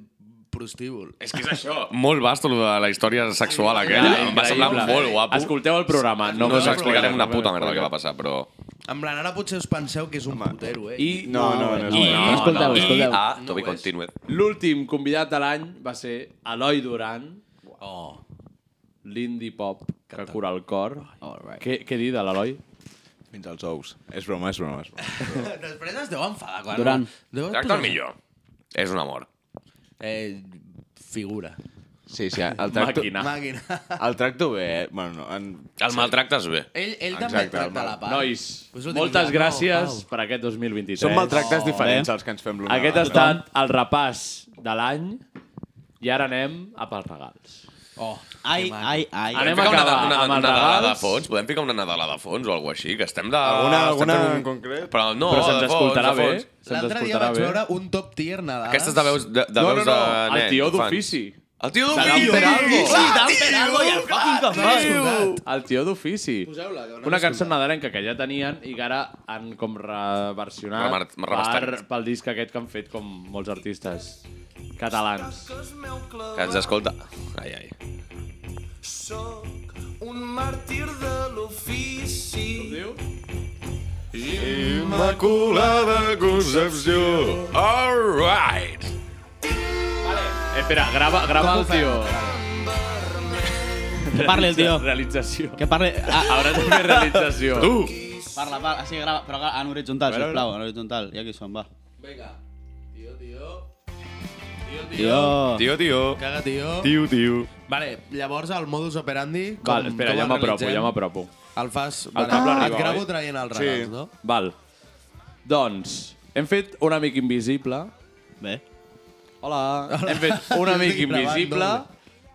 prostíbul.
És que és això. Molt vasto lo de la història sexual aquella.
Increïble.
Em va semblar molt guapo.
Escolteu el programa, no
No,
us
us explicarem
spoiler,
una
no
puta
us
merda
spoiler.
que va passar, però...
En plan, ara potser us penseu que és un putero, eh?
I-
No, no, no,
I-
no,
no, escolteu,
I
escolteu.
a Toby Continued.
L'últim convidat de l'any va ser Eloi Duran.
Oh.
L'indie pop que cura el cor. Què, què dir de l'Eloi?
Fins als ous. És broma, és broma. És broma.
Després es deu enfadar. Quan
Durant.
Deu
Tracta el millor. És un amor.
Eh, figura.
Sí, sí, el tracto...
Màquina.
Màquina.
El tracto bé, eh? Bueno, no, en...
El maltractes bé.
Ell, ell
Exacte,
també
el
tracta
mal-
la part.
Nois,
Pues ho dic
moltes
ja, no,
gràcies
Pau.
per aquest 2023.
Són maltractes diferents els que ens fem l'un a
Aquest ha
l'altre.
estat el repàs de l'any i ara anem a pels regals.
Oh,
Ai, ai, ai.
Anem
Podem
a
ficar
acabar
una,
amb
una,
els
una nadalada
regals.
de fons? Podem ficar una nadalada de fons o alguna així? Que estem de...
Alguna-
estem
alguna
fent
en concret?
Però no,
Però se'ns
Oh, de fons,
escoltarà
de
bé.
fons.
Se'ns
L'altre dia
escoltarà
vaig
bé.
veure un top tier Nadal.
Aquestes de veus de, de,
No, no,
veus
no,
de
el
nens,
tió
infants.
d'ofici.
El tio
Se l'han
d'ofici!
fet algo.
Sí,
tan pelado i el fucking
cabrón.
El tió d'ofici.
Poseu-la, que no
Una
l'he
cançó
escoltat.
nadalenca que ja tenien i que ara han com reversionat
Remar-
per,
remasterat.
pel disc aquest que han fet com molts artistes catalans.
Que ens escolta. Ai, ai.
Un màrtir de l'ofici. Com
diu?
Immaculada Concepció.
All right.
Eh, espera, grava, grava
Com ho
el
fem?
tio.
Que parli el tio.
Realització.
Que parli... Ah,
Haurà de fer realització.
Tu!
parla, parla. Així grava, però gra- en horitzontal,
A veure, a veure.
sisplau. En horitzontal. I aquí som, va.
Vinga. Tio, tio.
Tio.
Tio, tio.
Caga, tio.
Tio, tio.
Vale, llavors el modus operandi... Com,
Val, espera,
com
ja
el
m'apropo,
realitzem?
ja m'apropo.
El fas... El
cable
et
arriba,
gravo
oi?
traient els regals,
Sí.
no?
Val. Doncs, hem fet un amic invisible.
Bé.
Hola. Hem fet un amic
Estic gravant
invisible.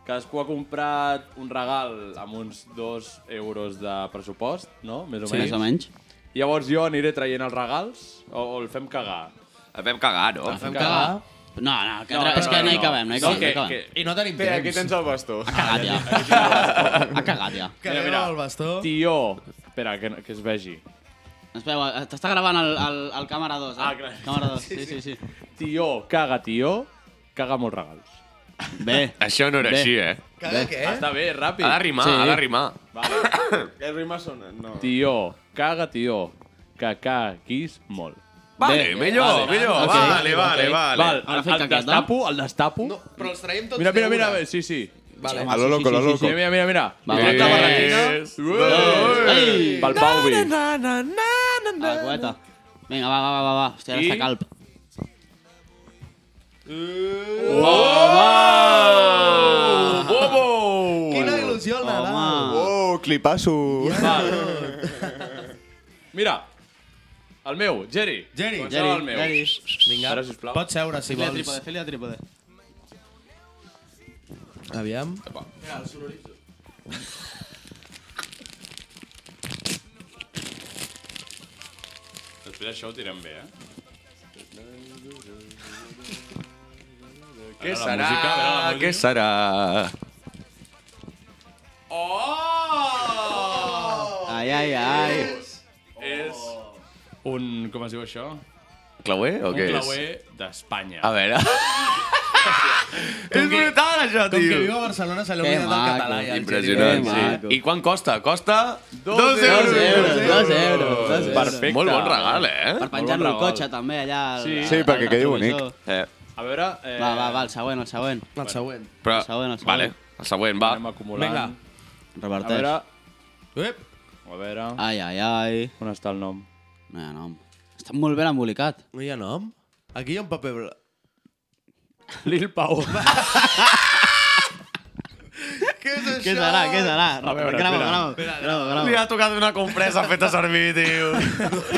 Cadascú ha comprat un regal amb uns dos euros de pressupost, no? Més o
Sí.
menys.
Més o menys.
Llavors jo aniré traient els regals o, o el fem cagar?
El fem cagar, no?
Fem cagar.
No, no, que no, és que no hi cabem, no hi cabem. No,
que,
hi cabem.
que,
I no tenim
Espera,
temps.
aquí tens el bastó.
Ha cagat ja. Ha cagat ja.
Que mira,
Mira, mira.
el bastó.
Tió. Espera, que, que es vegi.
Espera, t'està gravant el, el, el càmera 2, eh?
Ah, clar.
Càmera 2, sí, sí, sí.
Tió, caga tió, caga molts regals.
Bé.
Això no era
Bé.
així, eh?
Caga què?
Està bé, ràpid.
Ha de rimar,
Sí.
ha de rimar.
Les rimes són... No.
Tió, caga tió, que caguis molt.
Vale,
Bé.
millor,
Vale.
millor.
Ok.
Vale, vale,
Ok.
vale.
Val,
Ara
el,
fica
el
aquest,
destapo, el destapo.
No, però els traiem tots
mira, mira,
d'una.
mira, a veure, sí, sí.
Vale.
A lo loco, a lo loco.
Mira, mira, mira, mira.
Va,
Trec
va.
la barretina.
Tres,
Ué! Pel Pau Vi.
A la cueta. Vinga, va, va, va, va, va. Hòstia, ara
I-
està calp.
Quina il·lusió el Nadal.
Oh, clipasso!
Mira, el meu, Jerry.
Jerry,
Comencem amb
Jerry,
el meu.
Jerry.
Vinga,
Ara, sisplau.
pots seure si
Fili a
vols.
trípode, fili a trípode.
Aviam.
Després això ho tirem bé, eh? Què serà?
Què serà?
Oh!
Ai, ai, ai.
eh? És un... Com es diu això?
Clauer o
Un eh.
què és?
clauer d'Espanya.
A veure. és brutal, això,
Com que
tio.
viu a Barcelona se li ha
Que
oblidat el
maco.
català. ja, el
Impressionant,
Jerry.
sí.
Maco.
I quant costa? Costa... Dos,
Dos euros, dos euros, dos euros.
Perfecte.
Molt bon regal,
Per
eh?
penjar-lo
Molt
al
bon
cotxe, també, allà. al-
Sí.
al-
Sí, perquè
al
quedi
retrovisor.
bonic.
eh.
A veure... Eh,
Va, va, va, el següent, el següent.
El següent.
Però,
El següent, el següent.
Vale, el següent, va.
eh, Anem acumulant.
Vinga.
A
Reverteix.
veure...
Ep.
A veure...
Ai, ai, ai.
On està el nom?
No hi ha nom. Està molt ben embolicat.
No hi ha nom? Aquí hi ha un paper... bla-
Lil Pau.
Què és això?
Què serà, què serà?
A veure, espera.
grava, grava,
Espera,
grava, grava.
Li ha tocat una compresa feta servir, tio.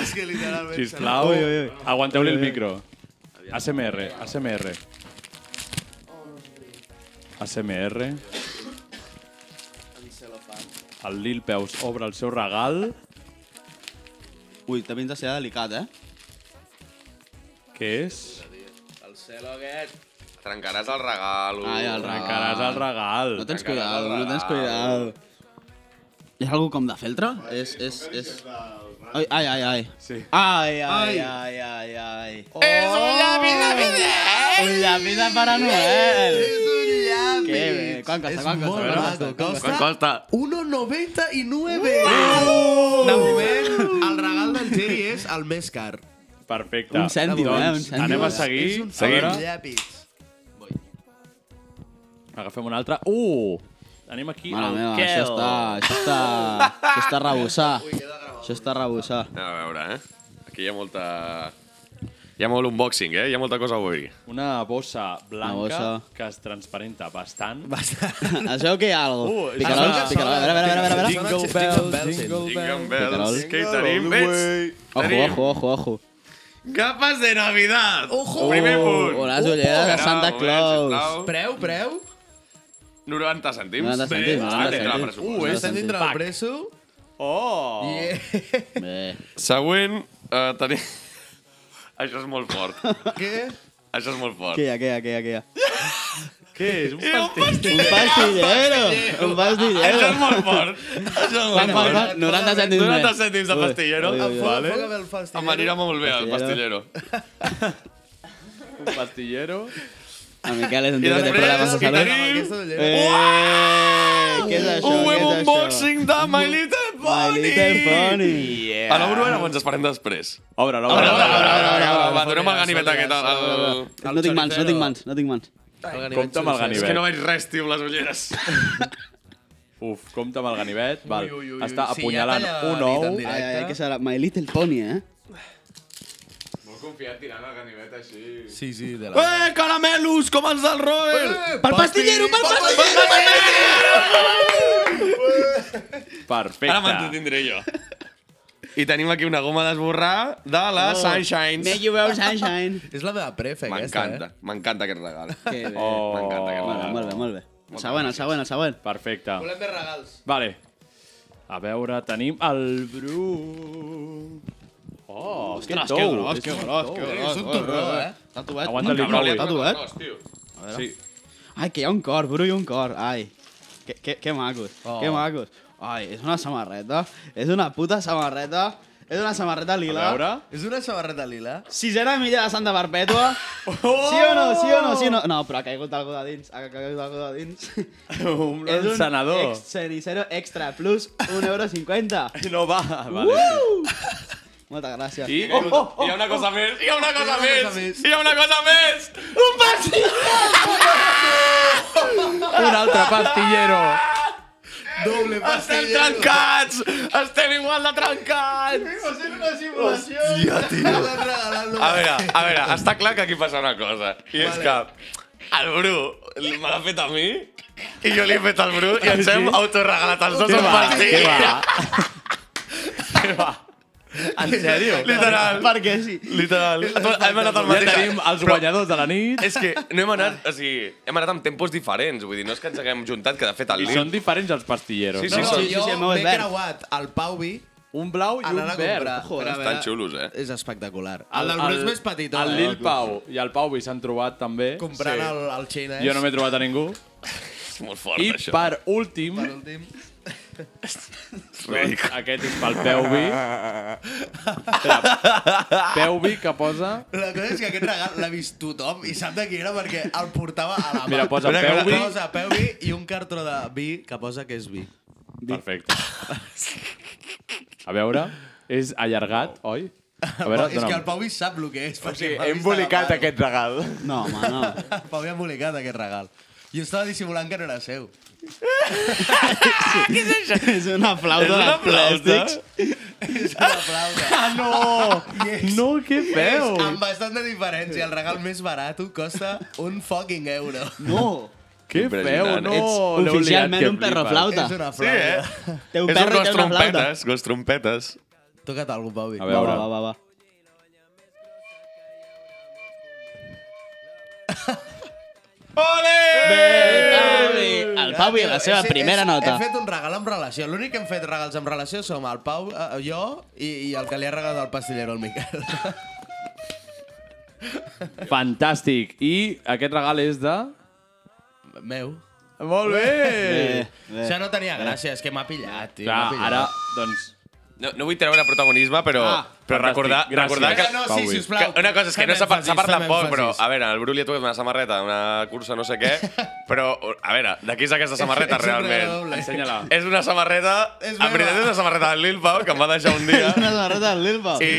és que literalment...
Sisplau,
Ui, ui, ui.
aguanteu-li el
Ui, ui.
micro. ASMR, ASMR. ASMR. El Lil Peus obre el seu regal,
Ui, també ens ha de ser delicat, eh?
que és...
El cel aquest.
Trencaràs el regal. uh.
Ai, el
Trencaràs el regal.
No tens
Trencaràs
cuidado,
el
no tens
regal.
cuidado. És algú com de feltre? És, és, és... Ai, ai, ai, ai. Sí. Ai, ai,
Ai.
ai, ai, ai.
És un llavi de
Oh. Un llavi de Pare Noel.
És un llavi.
Que bé. Quan costa, quan costa?
molt
quan
maco, costa.
quan
costa?
1,99.
Uau!
De moment, el regal del Geri és el més car.
Perfecte.
Un cèntim,
Doncs,
eh? Un cèntim.
Anem a seguir.
És un
Seguim.
cèntim.
Llapis.
Agafem un altre. Uh! Tenim aquí
Mare
el
meva,
Kel.
això està... Això està... Això està a rebussar. Això està a rebussar.
A veure, eh? Aquí hi ha molta... Hi ha molt unboxing, eh? Hi ha molta cosa avui.
Una bossa blanca
bossa.
que es transparenta bastant. Bastant.
Es veu que hi ha algo.
Uh,
Picarol,
sona-
picarol. A veure, a veure, a veure, a veure.
Jingle bells, jingle
Jingle
Picarol.
bells, que hi tenim, veig?
Ojo,
Tenim
ojo, ojo, ojo.
Capes de Navidad!
Ojo!
Primer punt!
Oh, les ulleres de
Espera, un eh,
Santa
moment,
Claus.
sisplau.
Preu, preu?
90 cèntims.
90 cèntims,
Bé,
90
dintre del
cèntims.
pressupost.
Uh, és dintre del preso?
Oh!
Bé.
Següent, eh, tenim... Això és molt fort.
Què?
Això és molt fort.
Què hi ha, què hi ha, què hi ha, què hi ha?
Què és? Un pastell?
Un pastillero! Un pastillero!
Això és molt fort. Això és molt
Bueno,
fort.
bueno, 90 cèntims més.
90 cèntims de
Ui,
pastillero.
ui, ui, ui.
Vale.
Enfoca-me el pastillero.
Em anirà molt bé el
Pastillero.
pastillero.
Un pastillero.
A Miquel és un
I
tio que té
després,
problemes
i
de salut.
tenim-
Aquesta de llebre.
Eh, què és això?
Un
Què
web
és això?
unboxing de My Little Pony!
My Little Pony!
A l'obra o ens esperem després?
Obre, obre,
obre, obre, obre,
obre, obre,
obre,
obre,
Va, donem el ganivet
obre,
aquest. al- al-
No tinc mans, no tinc mans, no tinc mans.
Compte amb el ganivet.
És que no veig res, tio, amb les ulleres.
Uf, compta amb el ganivet. Val.
ui, ui,
Està
ui. Si
apunyalant
ja talla
un
la
ou.
nit en
Ai, ai, que serà My Little Pony, eh?
Molt confiat tirant el ganivet així.
Sí, sí, de la... Eh!
Eh, caramelos, com els del Robert!
Pel pastillero, pel
Perfecte.
Ara m'entretindré jo. I tenim aquí una goma d'esborrar de la
Oh.
Sunshines.
Make you well sunshine.
És la meva prefe, aquesta, eh?
M'encanta, m'encanta aquest regal.
Que bé.
Oh.
M'encanta aquest
Molt bé,
regal.
molt bé, molt bé.
Oh.
El següent, el següent, el següent.
Perfecte.
Volem més regals.
Vale. A veure, tenim el Bru... Oh,
Ostres,
tou,
que gros,
és
que
un
gros,
tou.
que gros.
És un
gros,
torró,
gros,
eh?
Està tatuat.
Aguanta-li,
Cabrón,
Brolin.
Està tatuat.
Sí.
Ai, que hi ha un cor, Bru, i un cor. Ai, que, que, que macos,
Oh.
que macos. Ai, és una samarreta, és una puta samarreta, és una samarreta lila.
A veure...
És una sabarreta lila?
Sisena milla de Santa Perpètua.
Oh!
Sí o no, sí o no, sí o no. No, però ha caigut algú de dins, ha caigut algú de dins.
Un
és un
encenedor.
ex- cenicero extra plus 1,50 euro.
No va. Vale, sí.
Moltes gràcies.
I...
Oh, oh, oh, hi ha una cosa més, hi ha una cosa
Hi ha una cosa
més, hi ha una cosa més!
Un pastillero!
Un altre pastillero.
Doble
Estem
pastillero.
trencats! Estem igual de trencats!
Va ser una simulació. Hòstia, tio.
A veure, a veure, està clar que aquí passa una cosa. I és que el Bru me l'ha fet a mi i jo li he fet al Bru i ens hem autorregalat els dos
Ah, Què
un
va, què
pastillero.
va? Què va? En sèrio?
Literal.
Perquè sí.
Literal. Hem anat al
Ja
mateix.
tenim els
Però
guanyadors de la nit.
És que no hem anat, o sigui, hem anat amb tempos diferents, vull dir, no és que ens haguem juntat, que de fet el
I
Lil...
són diferents els pastilleros.
Sí,
No,
sí,
no,
sí,
sí,
jo
sí, el meu és
m'he
verd.
creuat el Pauvi
Un blau i un
anant a
verd.
comprar.
Ojo,
Però a
Estan
veure,
xulos, eh?
És espectacular. El del Bruce més petitó.
El
eh?
Lil Pau i el Pau s'han trobat també.
Comprant el, el xinès.
Jo no m'he trobat a ningú.
És molt fort,
I
això.
per últim,
Per últim.
doncs, aquest és pel Peuvi. Espera, Peuvi que posa...
La cosa és que aquest regal l'ha vist tothom i sap de qui era perquè el portava a la mà.
Mira, posa
Mira,
Peuvi.
Posa Peuvi i un cartró de vi que posa que és vi.
Perfecte. A veure, és allargat, oi? A veure,
és que el
dona'm.
Pauvi sap el que és. O sigui,
Hem embolicat aquest regal.
No, home, no.
El Pauvi ha embolicat aquest regal. Jo estava dissimulant que no era seu.
és una
És
flauta
una
de
flauta?
plàstics.
És és una flauta.
Ah, no! No, què feu?
És amb bastant de diferència. El regal més barat costa un fucking euro.
No! Què feu?
Impressionant.
No!
Ets
l'heu
oficialment
liat, que
un perro
flipes.
flauta.
És una
Sí,
flauta.
eh? Té un És un perro i té gos una flauta. trompetes, gos trompetes.
Toca't algú, Pauvi.
A veure. Va, va,
va, va.
Ole!
El Pau i la seva primera nota.
He fet un regal amb relació. L'únic que hem fet regals amb relació som el Pau, eh, jo i, i el que li ha regalat el pastillero, el Miquel.
Fantàstic. I aquest regal és de...
Meu.
Molt bé!
Això no tenia gràcia, és que m'ha pillat, tio.
Clar,
m'ha pillat.
ara,
doncs...
No, no vull treure protagonisme, però,
Ah,
però
fantàstic.
recordar,
Gràcies.
recordar que...
Vinga, no, sí,
Pau,
sisplau.
que una cosa és que
Fem
no s'ha par-
èmfasi,
s'ha parlat
fem
poc, però,
èmfasi.
a veure, el Bru li ha tocat una samarreta, una cursa no sé què, però, a veure, de qui és aquesta samarreta
És un
realment?
redoble. Ensenya-la.
És una samarreta... En veritat és una samarreta del Lil Pau, que em va deixar un dia.
Una samarreta del Lil Pau.
I,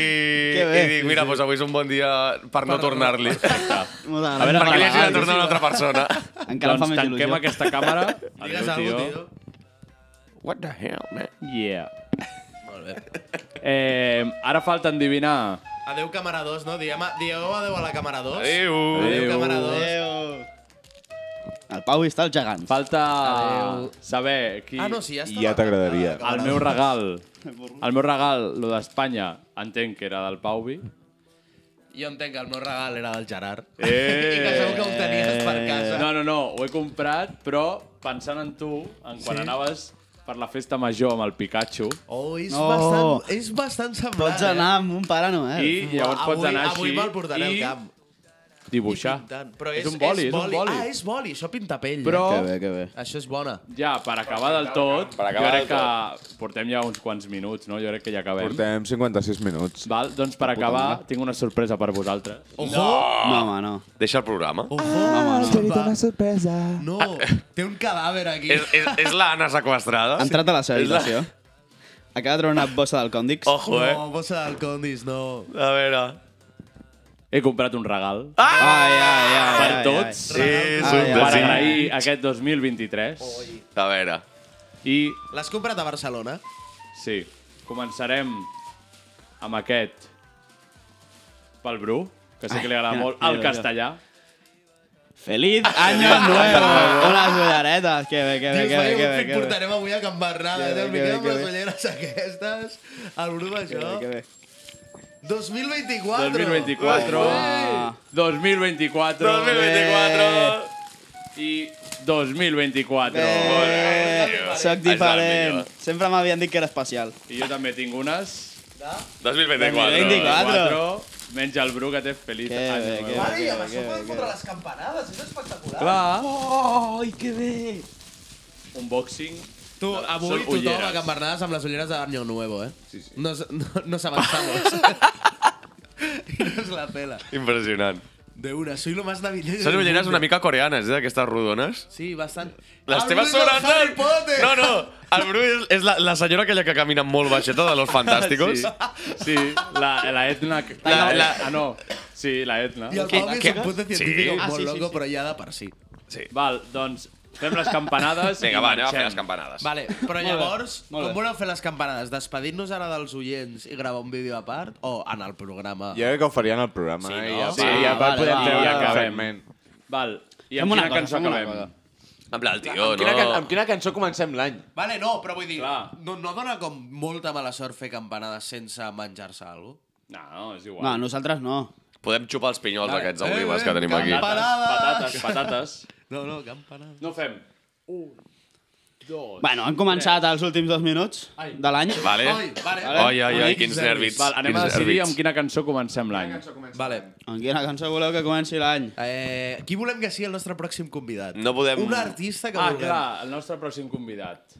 Que bé.
i dic, mira, doncs avui és un bon dia per no tornar-li.
Moltes
A veure,
gràcies.
perquè li hagi de
Vale,
tornar a una altra persona.
Encara
doncs
fa més
tanquem
il·lusió.
aquesta càmera. Adéu,
algú,
tio.
What the hell, man?
Yeah.
Molt bé.
Eh, ara falta endivinar.
Adéu, càmera 2, no? Diem, dieu adéu a la càmera 2.
Adéu.
Adéu, càmera 2.
Adéu. El Pau està el gegant.
Falta saber qui...
Ah, no, sí, ja està.
Ja
t'agradaria.
El meu regal. El meu regal, lo d'Espanya, entenc que era del Pauvi.
Jo entenc que el meu regal era del Gerard.
Eh.
I que segur que ho tenies per casa.
No, no, no, ho he comprat, però pensant en tu, en quan
Sí.
anaves per la festa major amb el Pikachu.
Oh, és,
No.
bastant, és bastant semblant,
Pots anar
eh?
amb un parano, eh?
I llavors
Avui-
pots anar així
Avui me'l portaré
i-
al camp.
Dibuixar.
Tant. Però és,
És un boli, és un boli.
Ah, és boli, això pinta pell.
Però-
Eh?
Que bé, que bé.
Això és bona.
Ja, per acabar del tot,
Per
jo
acabar del
crec que portem ja uns quants minuts, no? Jo crec que ja acabem.
Portem 56 minuts.
Val, doncs per
Puta
acabar,
merda.
tinc una sorpresa per vosaltres.
Ojo!
No,
home, no.
Deixa el programa.
Ah,
no,
no, una sorpresa.
No,
Ah.
té un cadàver aquí.
És, és, és l'Anna sequestrada.
Ha entrat a la seva
És la-
habitació. Acaba de treure una bossa del Condix.
Ojo, eh?
No, bossa del Condis, no.
A veure...
He comprat un regal.
Ah! Ai,
ai, ai,
per
ai,
tots.
ai. És
Ah,
un
Per
desig.
agrair aquest 2023.
A veure.
I,
L'has comprat a Barcelona?
sí, començarem amb aquest pel Bru, que sé que li agrada
mira,
molt,
mira,
el
mira.
castellà.
Feliz año nuevo. Unes ulleretes. Que bé, que bé,
Dius,
que bé,
vaya
que
un
bé.
fic
Que bé.
portarem avui a Can Bernada.
Que
eh?
bé,
El
que
Miquel
bé,
amb
que
les
bé.
ulleres aquestes, el Bru
Que bé,
això.
que bé.
2024.
2024.
Ué!
2024.
2024.
I 2024.
Eh, Soc diferent. Sempre m'havien dit que era especial.
I jo també tinc unes.
2024.
24. Menys el Bru, que té feliç
Que
any.
bé, que
nou.
bé, que bé, que bé, que bé.
Les campanades, és espectacular.
Clar.
Ai, que bé.
Unboxing.
Tu, avui
Són
tothom
ulleres.
a Can Bernades amb les ulleres d'Año Nuevo, eh? Sí, sí. No, s- no, no s'avançamos. I no es la pela.
Impressionant.
De una, soy lo más navideño
Són
del
ulleres
mundo.
una mica coreanes, eh, d'aquestes rodones.
Sí, bastant.
Les
El
teves
Bru és el
són...
Harry Potter!
No, no, el Bru és, és la, la senyora aquella que camina molt baixeta de Los Fantásticos.
Sí, sí la, la etna...
La-
La,
la-
la, ah, no. Sí, la etna.
I el Pau és un puto científic sí. molt loco, però ja de per si.
Sí.
Val, doncs fem les campanades
Vinga,
i
va, anem a fer
marxem.
les campanades.
Vale, però
Molt bé,
llavors,
molt bé.
com voleu fer les campanades? Despedir-nos ara dels oients i gravar un vídeo a part o en el programa?
Jo crec que ho farien al programa, eh? I ja,
Sí,
sí, ja
vale,
vale, podem
vale,
treure
vale.
el
Acabem.
segment.
Val, i
Fem
amb
una
quina
cosa,
cançó
fem una
acabem?
cosa.
Amb la tio,
Amb quina, can amb quina cançó comencem l'any?
Vale, no, però vull dir, no, no dona com molta mala sort fer campanades sense menjar-se alguna
No, no, és igual.
No, nosaltres no.
Podem xupar els pinyols
Vale.
aquests
Eh,
olives que
eh,
tenim aquí.
Patates, patates.
No, no, campanades.
No fem. Un, dos...
Bueno, han començat els últims dos minuts de l'any.
Vale. Ai, vale. Ai, ai, ai, quins nervis.
Val, anem
Quins
a decidir
nervis.
amb quina cançó comencem l'any. Ah,
Vale.
Amb quina cançó voleu que comenci l'any?
Eh, qui volem que sigui el nostre pròxim convidat?
No podem-
Un artista que
Ah,
vulguem.
clar, el nostre pròxim convidat.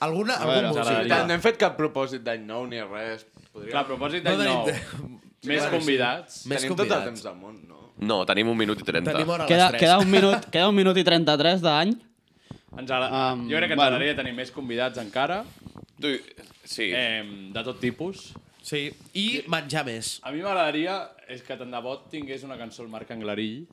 Alguna,
A veure,
algun músic.
t'agradaria.
va.
No hem fet cap propòsit d'any nou ni res. Podríem...
Clar, propòsit d'any
tenim
nou.
temps.
Més
Bueno, sí.
convidats.
Més
Tenim
Tenim
tot
tot
el
el temps del món, no?
No, tenim un minut i trenta.
Queda, queda, un minut, queda un minut i 33 d'any.
Ens agrada...
Um,
jo crec que ens
bueno.
agradaria tenir més convidats encara.
Tu, sí.
Eh, de tot tipus.
Sí, i menjar més.
Ah,
A mi m'agradaria és que tant de bo tingués una cançó al Marc Anglarill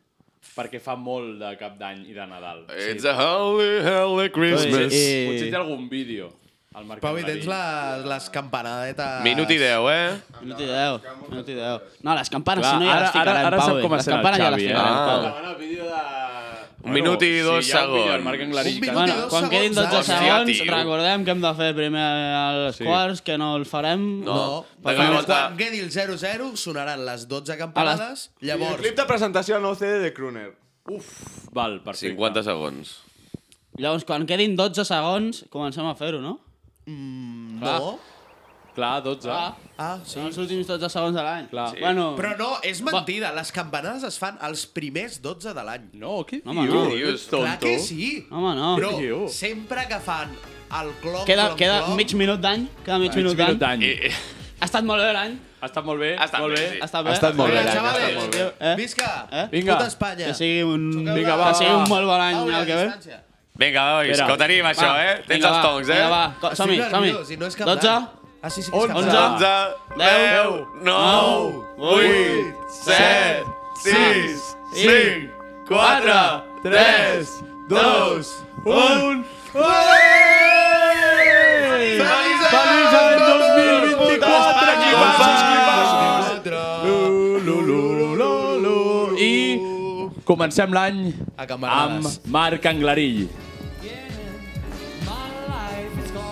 perquè fa molt de
Eh,
cap d'any i de Nadal.
It's a holy, holy Christmas.
Doncs, Eh,
Potser, potser té algun vídeo. El mercat
Pau, i
de
tens
vi.
les, les campanades...
Minut i deu, eh?
Minut i deu, minut i deu. No, les campanes,
Clar,
si no ja
ara-
les ficarem,
ara- ara
Pau.
sap com ha
les
estat el
campanes ja
Xavi,
les
eh?
ficarem, Pau.
Ah. Un minut i dos segons.
Bueno, quan quedin 12
Hòstia,
segons,
tio.
recordem que hem de fer primer els
Sí.
quarts, que no el farem.
No,
perquè
perquè
no
quan quan quedi el 0-0 sonaran les 12 campanades,
Llavors...
llavors...
clip de presentació del nou CD de Kruner.
Uf.
Val, perfecte.
50 segons.
Llavors, quan quedin 12 segons, comencem a fer-ho, no? Mm,
no.
Clar, 12.
Ah,
ah sí.
Són els últims 12 segons de l'any.
Clar.
Bueno,
Però no, és mentida. Les campanades es fan els primers 12 de l'any.
No, què
Home, no. dius? Dius,
Clar
tonto.
que sí.
Home, no.
Però
Què dius?
sempre que fan el clon,
queda,
clon,
queda
clon...
mig minut d'any. Queda mig,
Mig minut
minut d'any.
d'any.
Eh,
Ha estat molt bé l'any.
Ha estat molt bé,
ha estat
molt bé.
Ha estat bé.
Ha estat molt bé l'any, ha
xavales.
estat molt bé.
Eh?
Visca!
Eh?
Vinga.
Puta
Espanya.
Que sigui un,
Vinga, va,
que sigui un
va.
molt bon any
Paula,
el que ve.
Vinga, nois,
Espera.
que ho tenim, això,
Va,
eh? Tens
vinga,
els
va,
tongs, eh?
vinga, va.
Co-
som-hi,
Estic
som-hi.
nerviós i no és cap
12?
any. Ah, sí, sí que és cap
11,
any.
10, 9, 8, 7, 6, 5, 4, 3, 2, 1... Feliç any 2024,
I comencem l'any amb
campanades.
Marc Anglarill.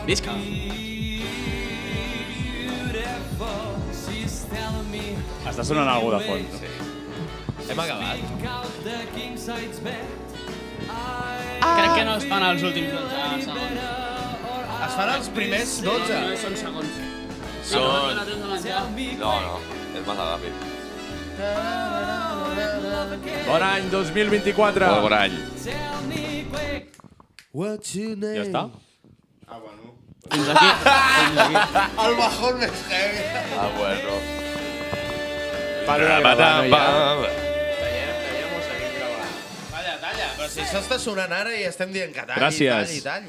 Visca.
Està sonant alguna de fons. Sí.
Hem acabat.
Crec que no es fan els últims 12 segons.
Es fan els primers 12.
No, són segons.
Són-
No, no, no, no,
No, no, és massa ràpid.
Bon any 2024.
Molt bon any.
What's your name?
Ja està.
Fins aquí. Fins aquí.
El bajón més heavy.
Ah, bueno.
Panorama,
Panorama,
panorama.
ja.
Però si això està sonant ara i estem dient que talli,
Gràcies.
talli, talli.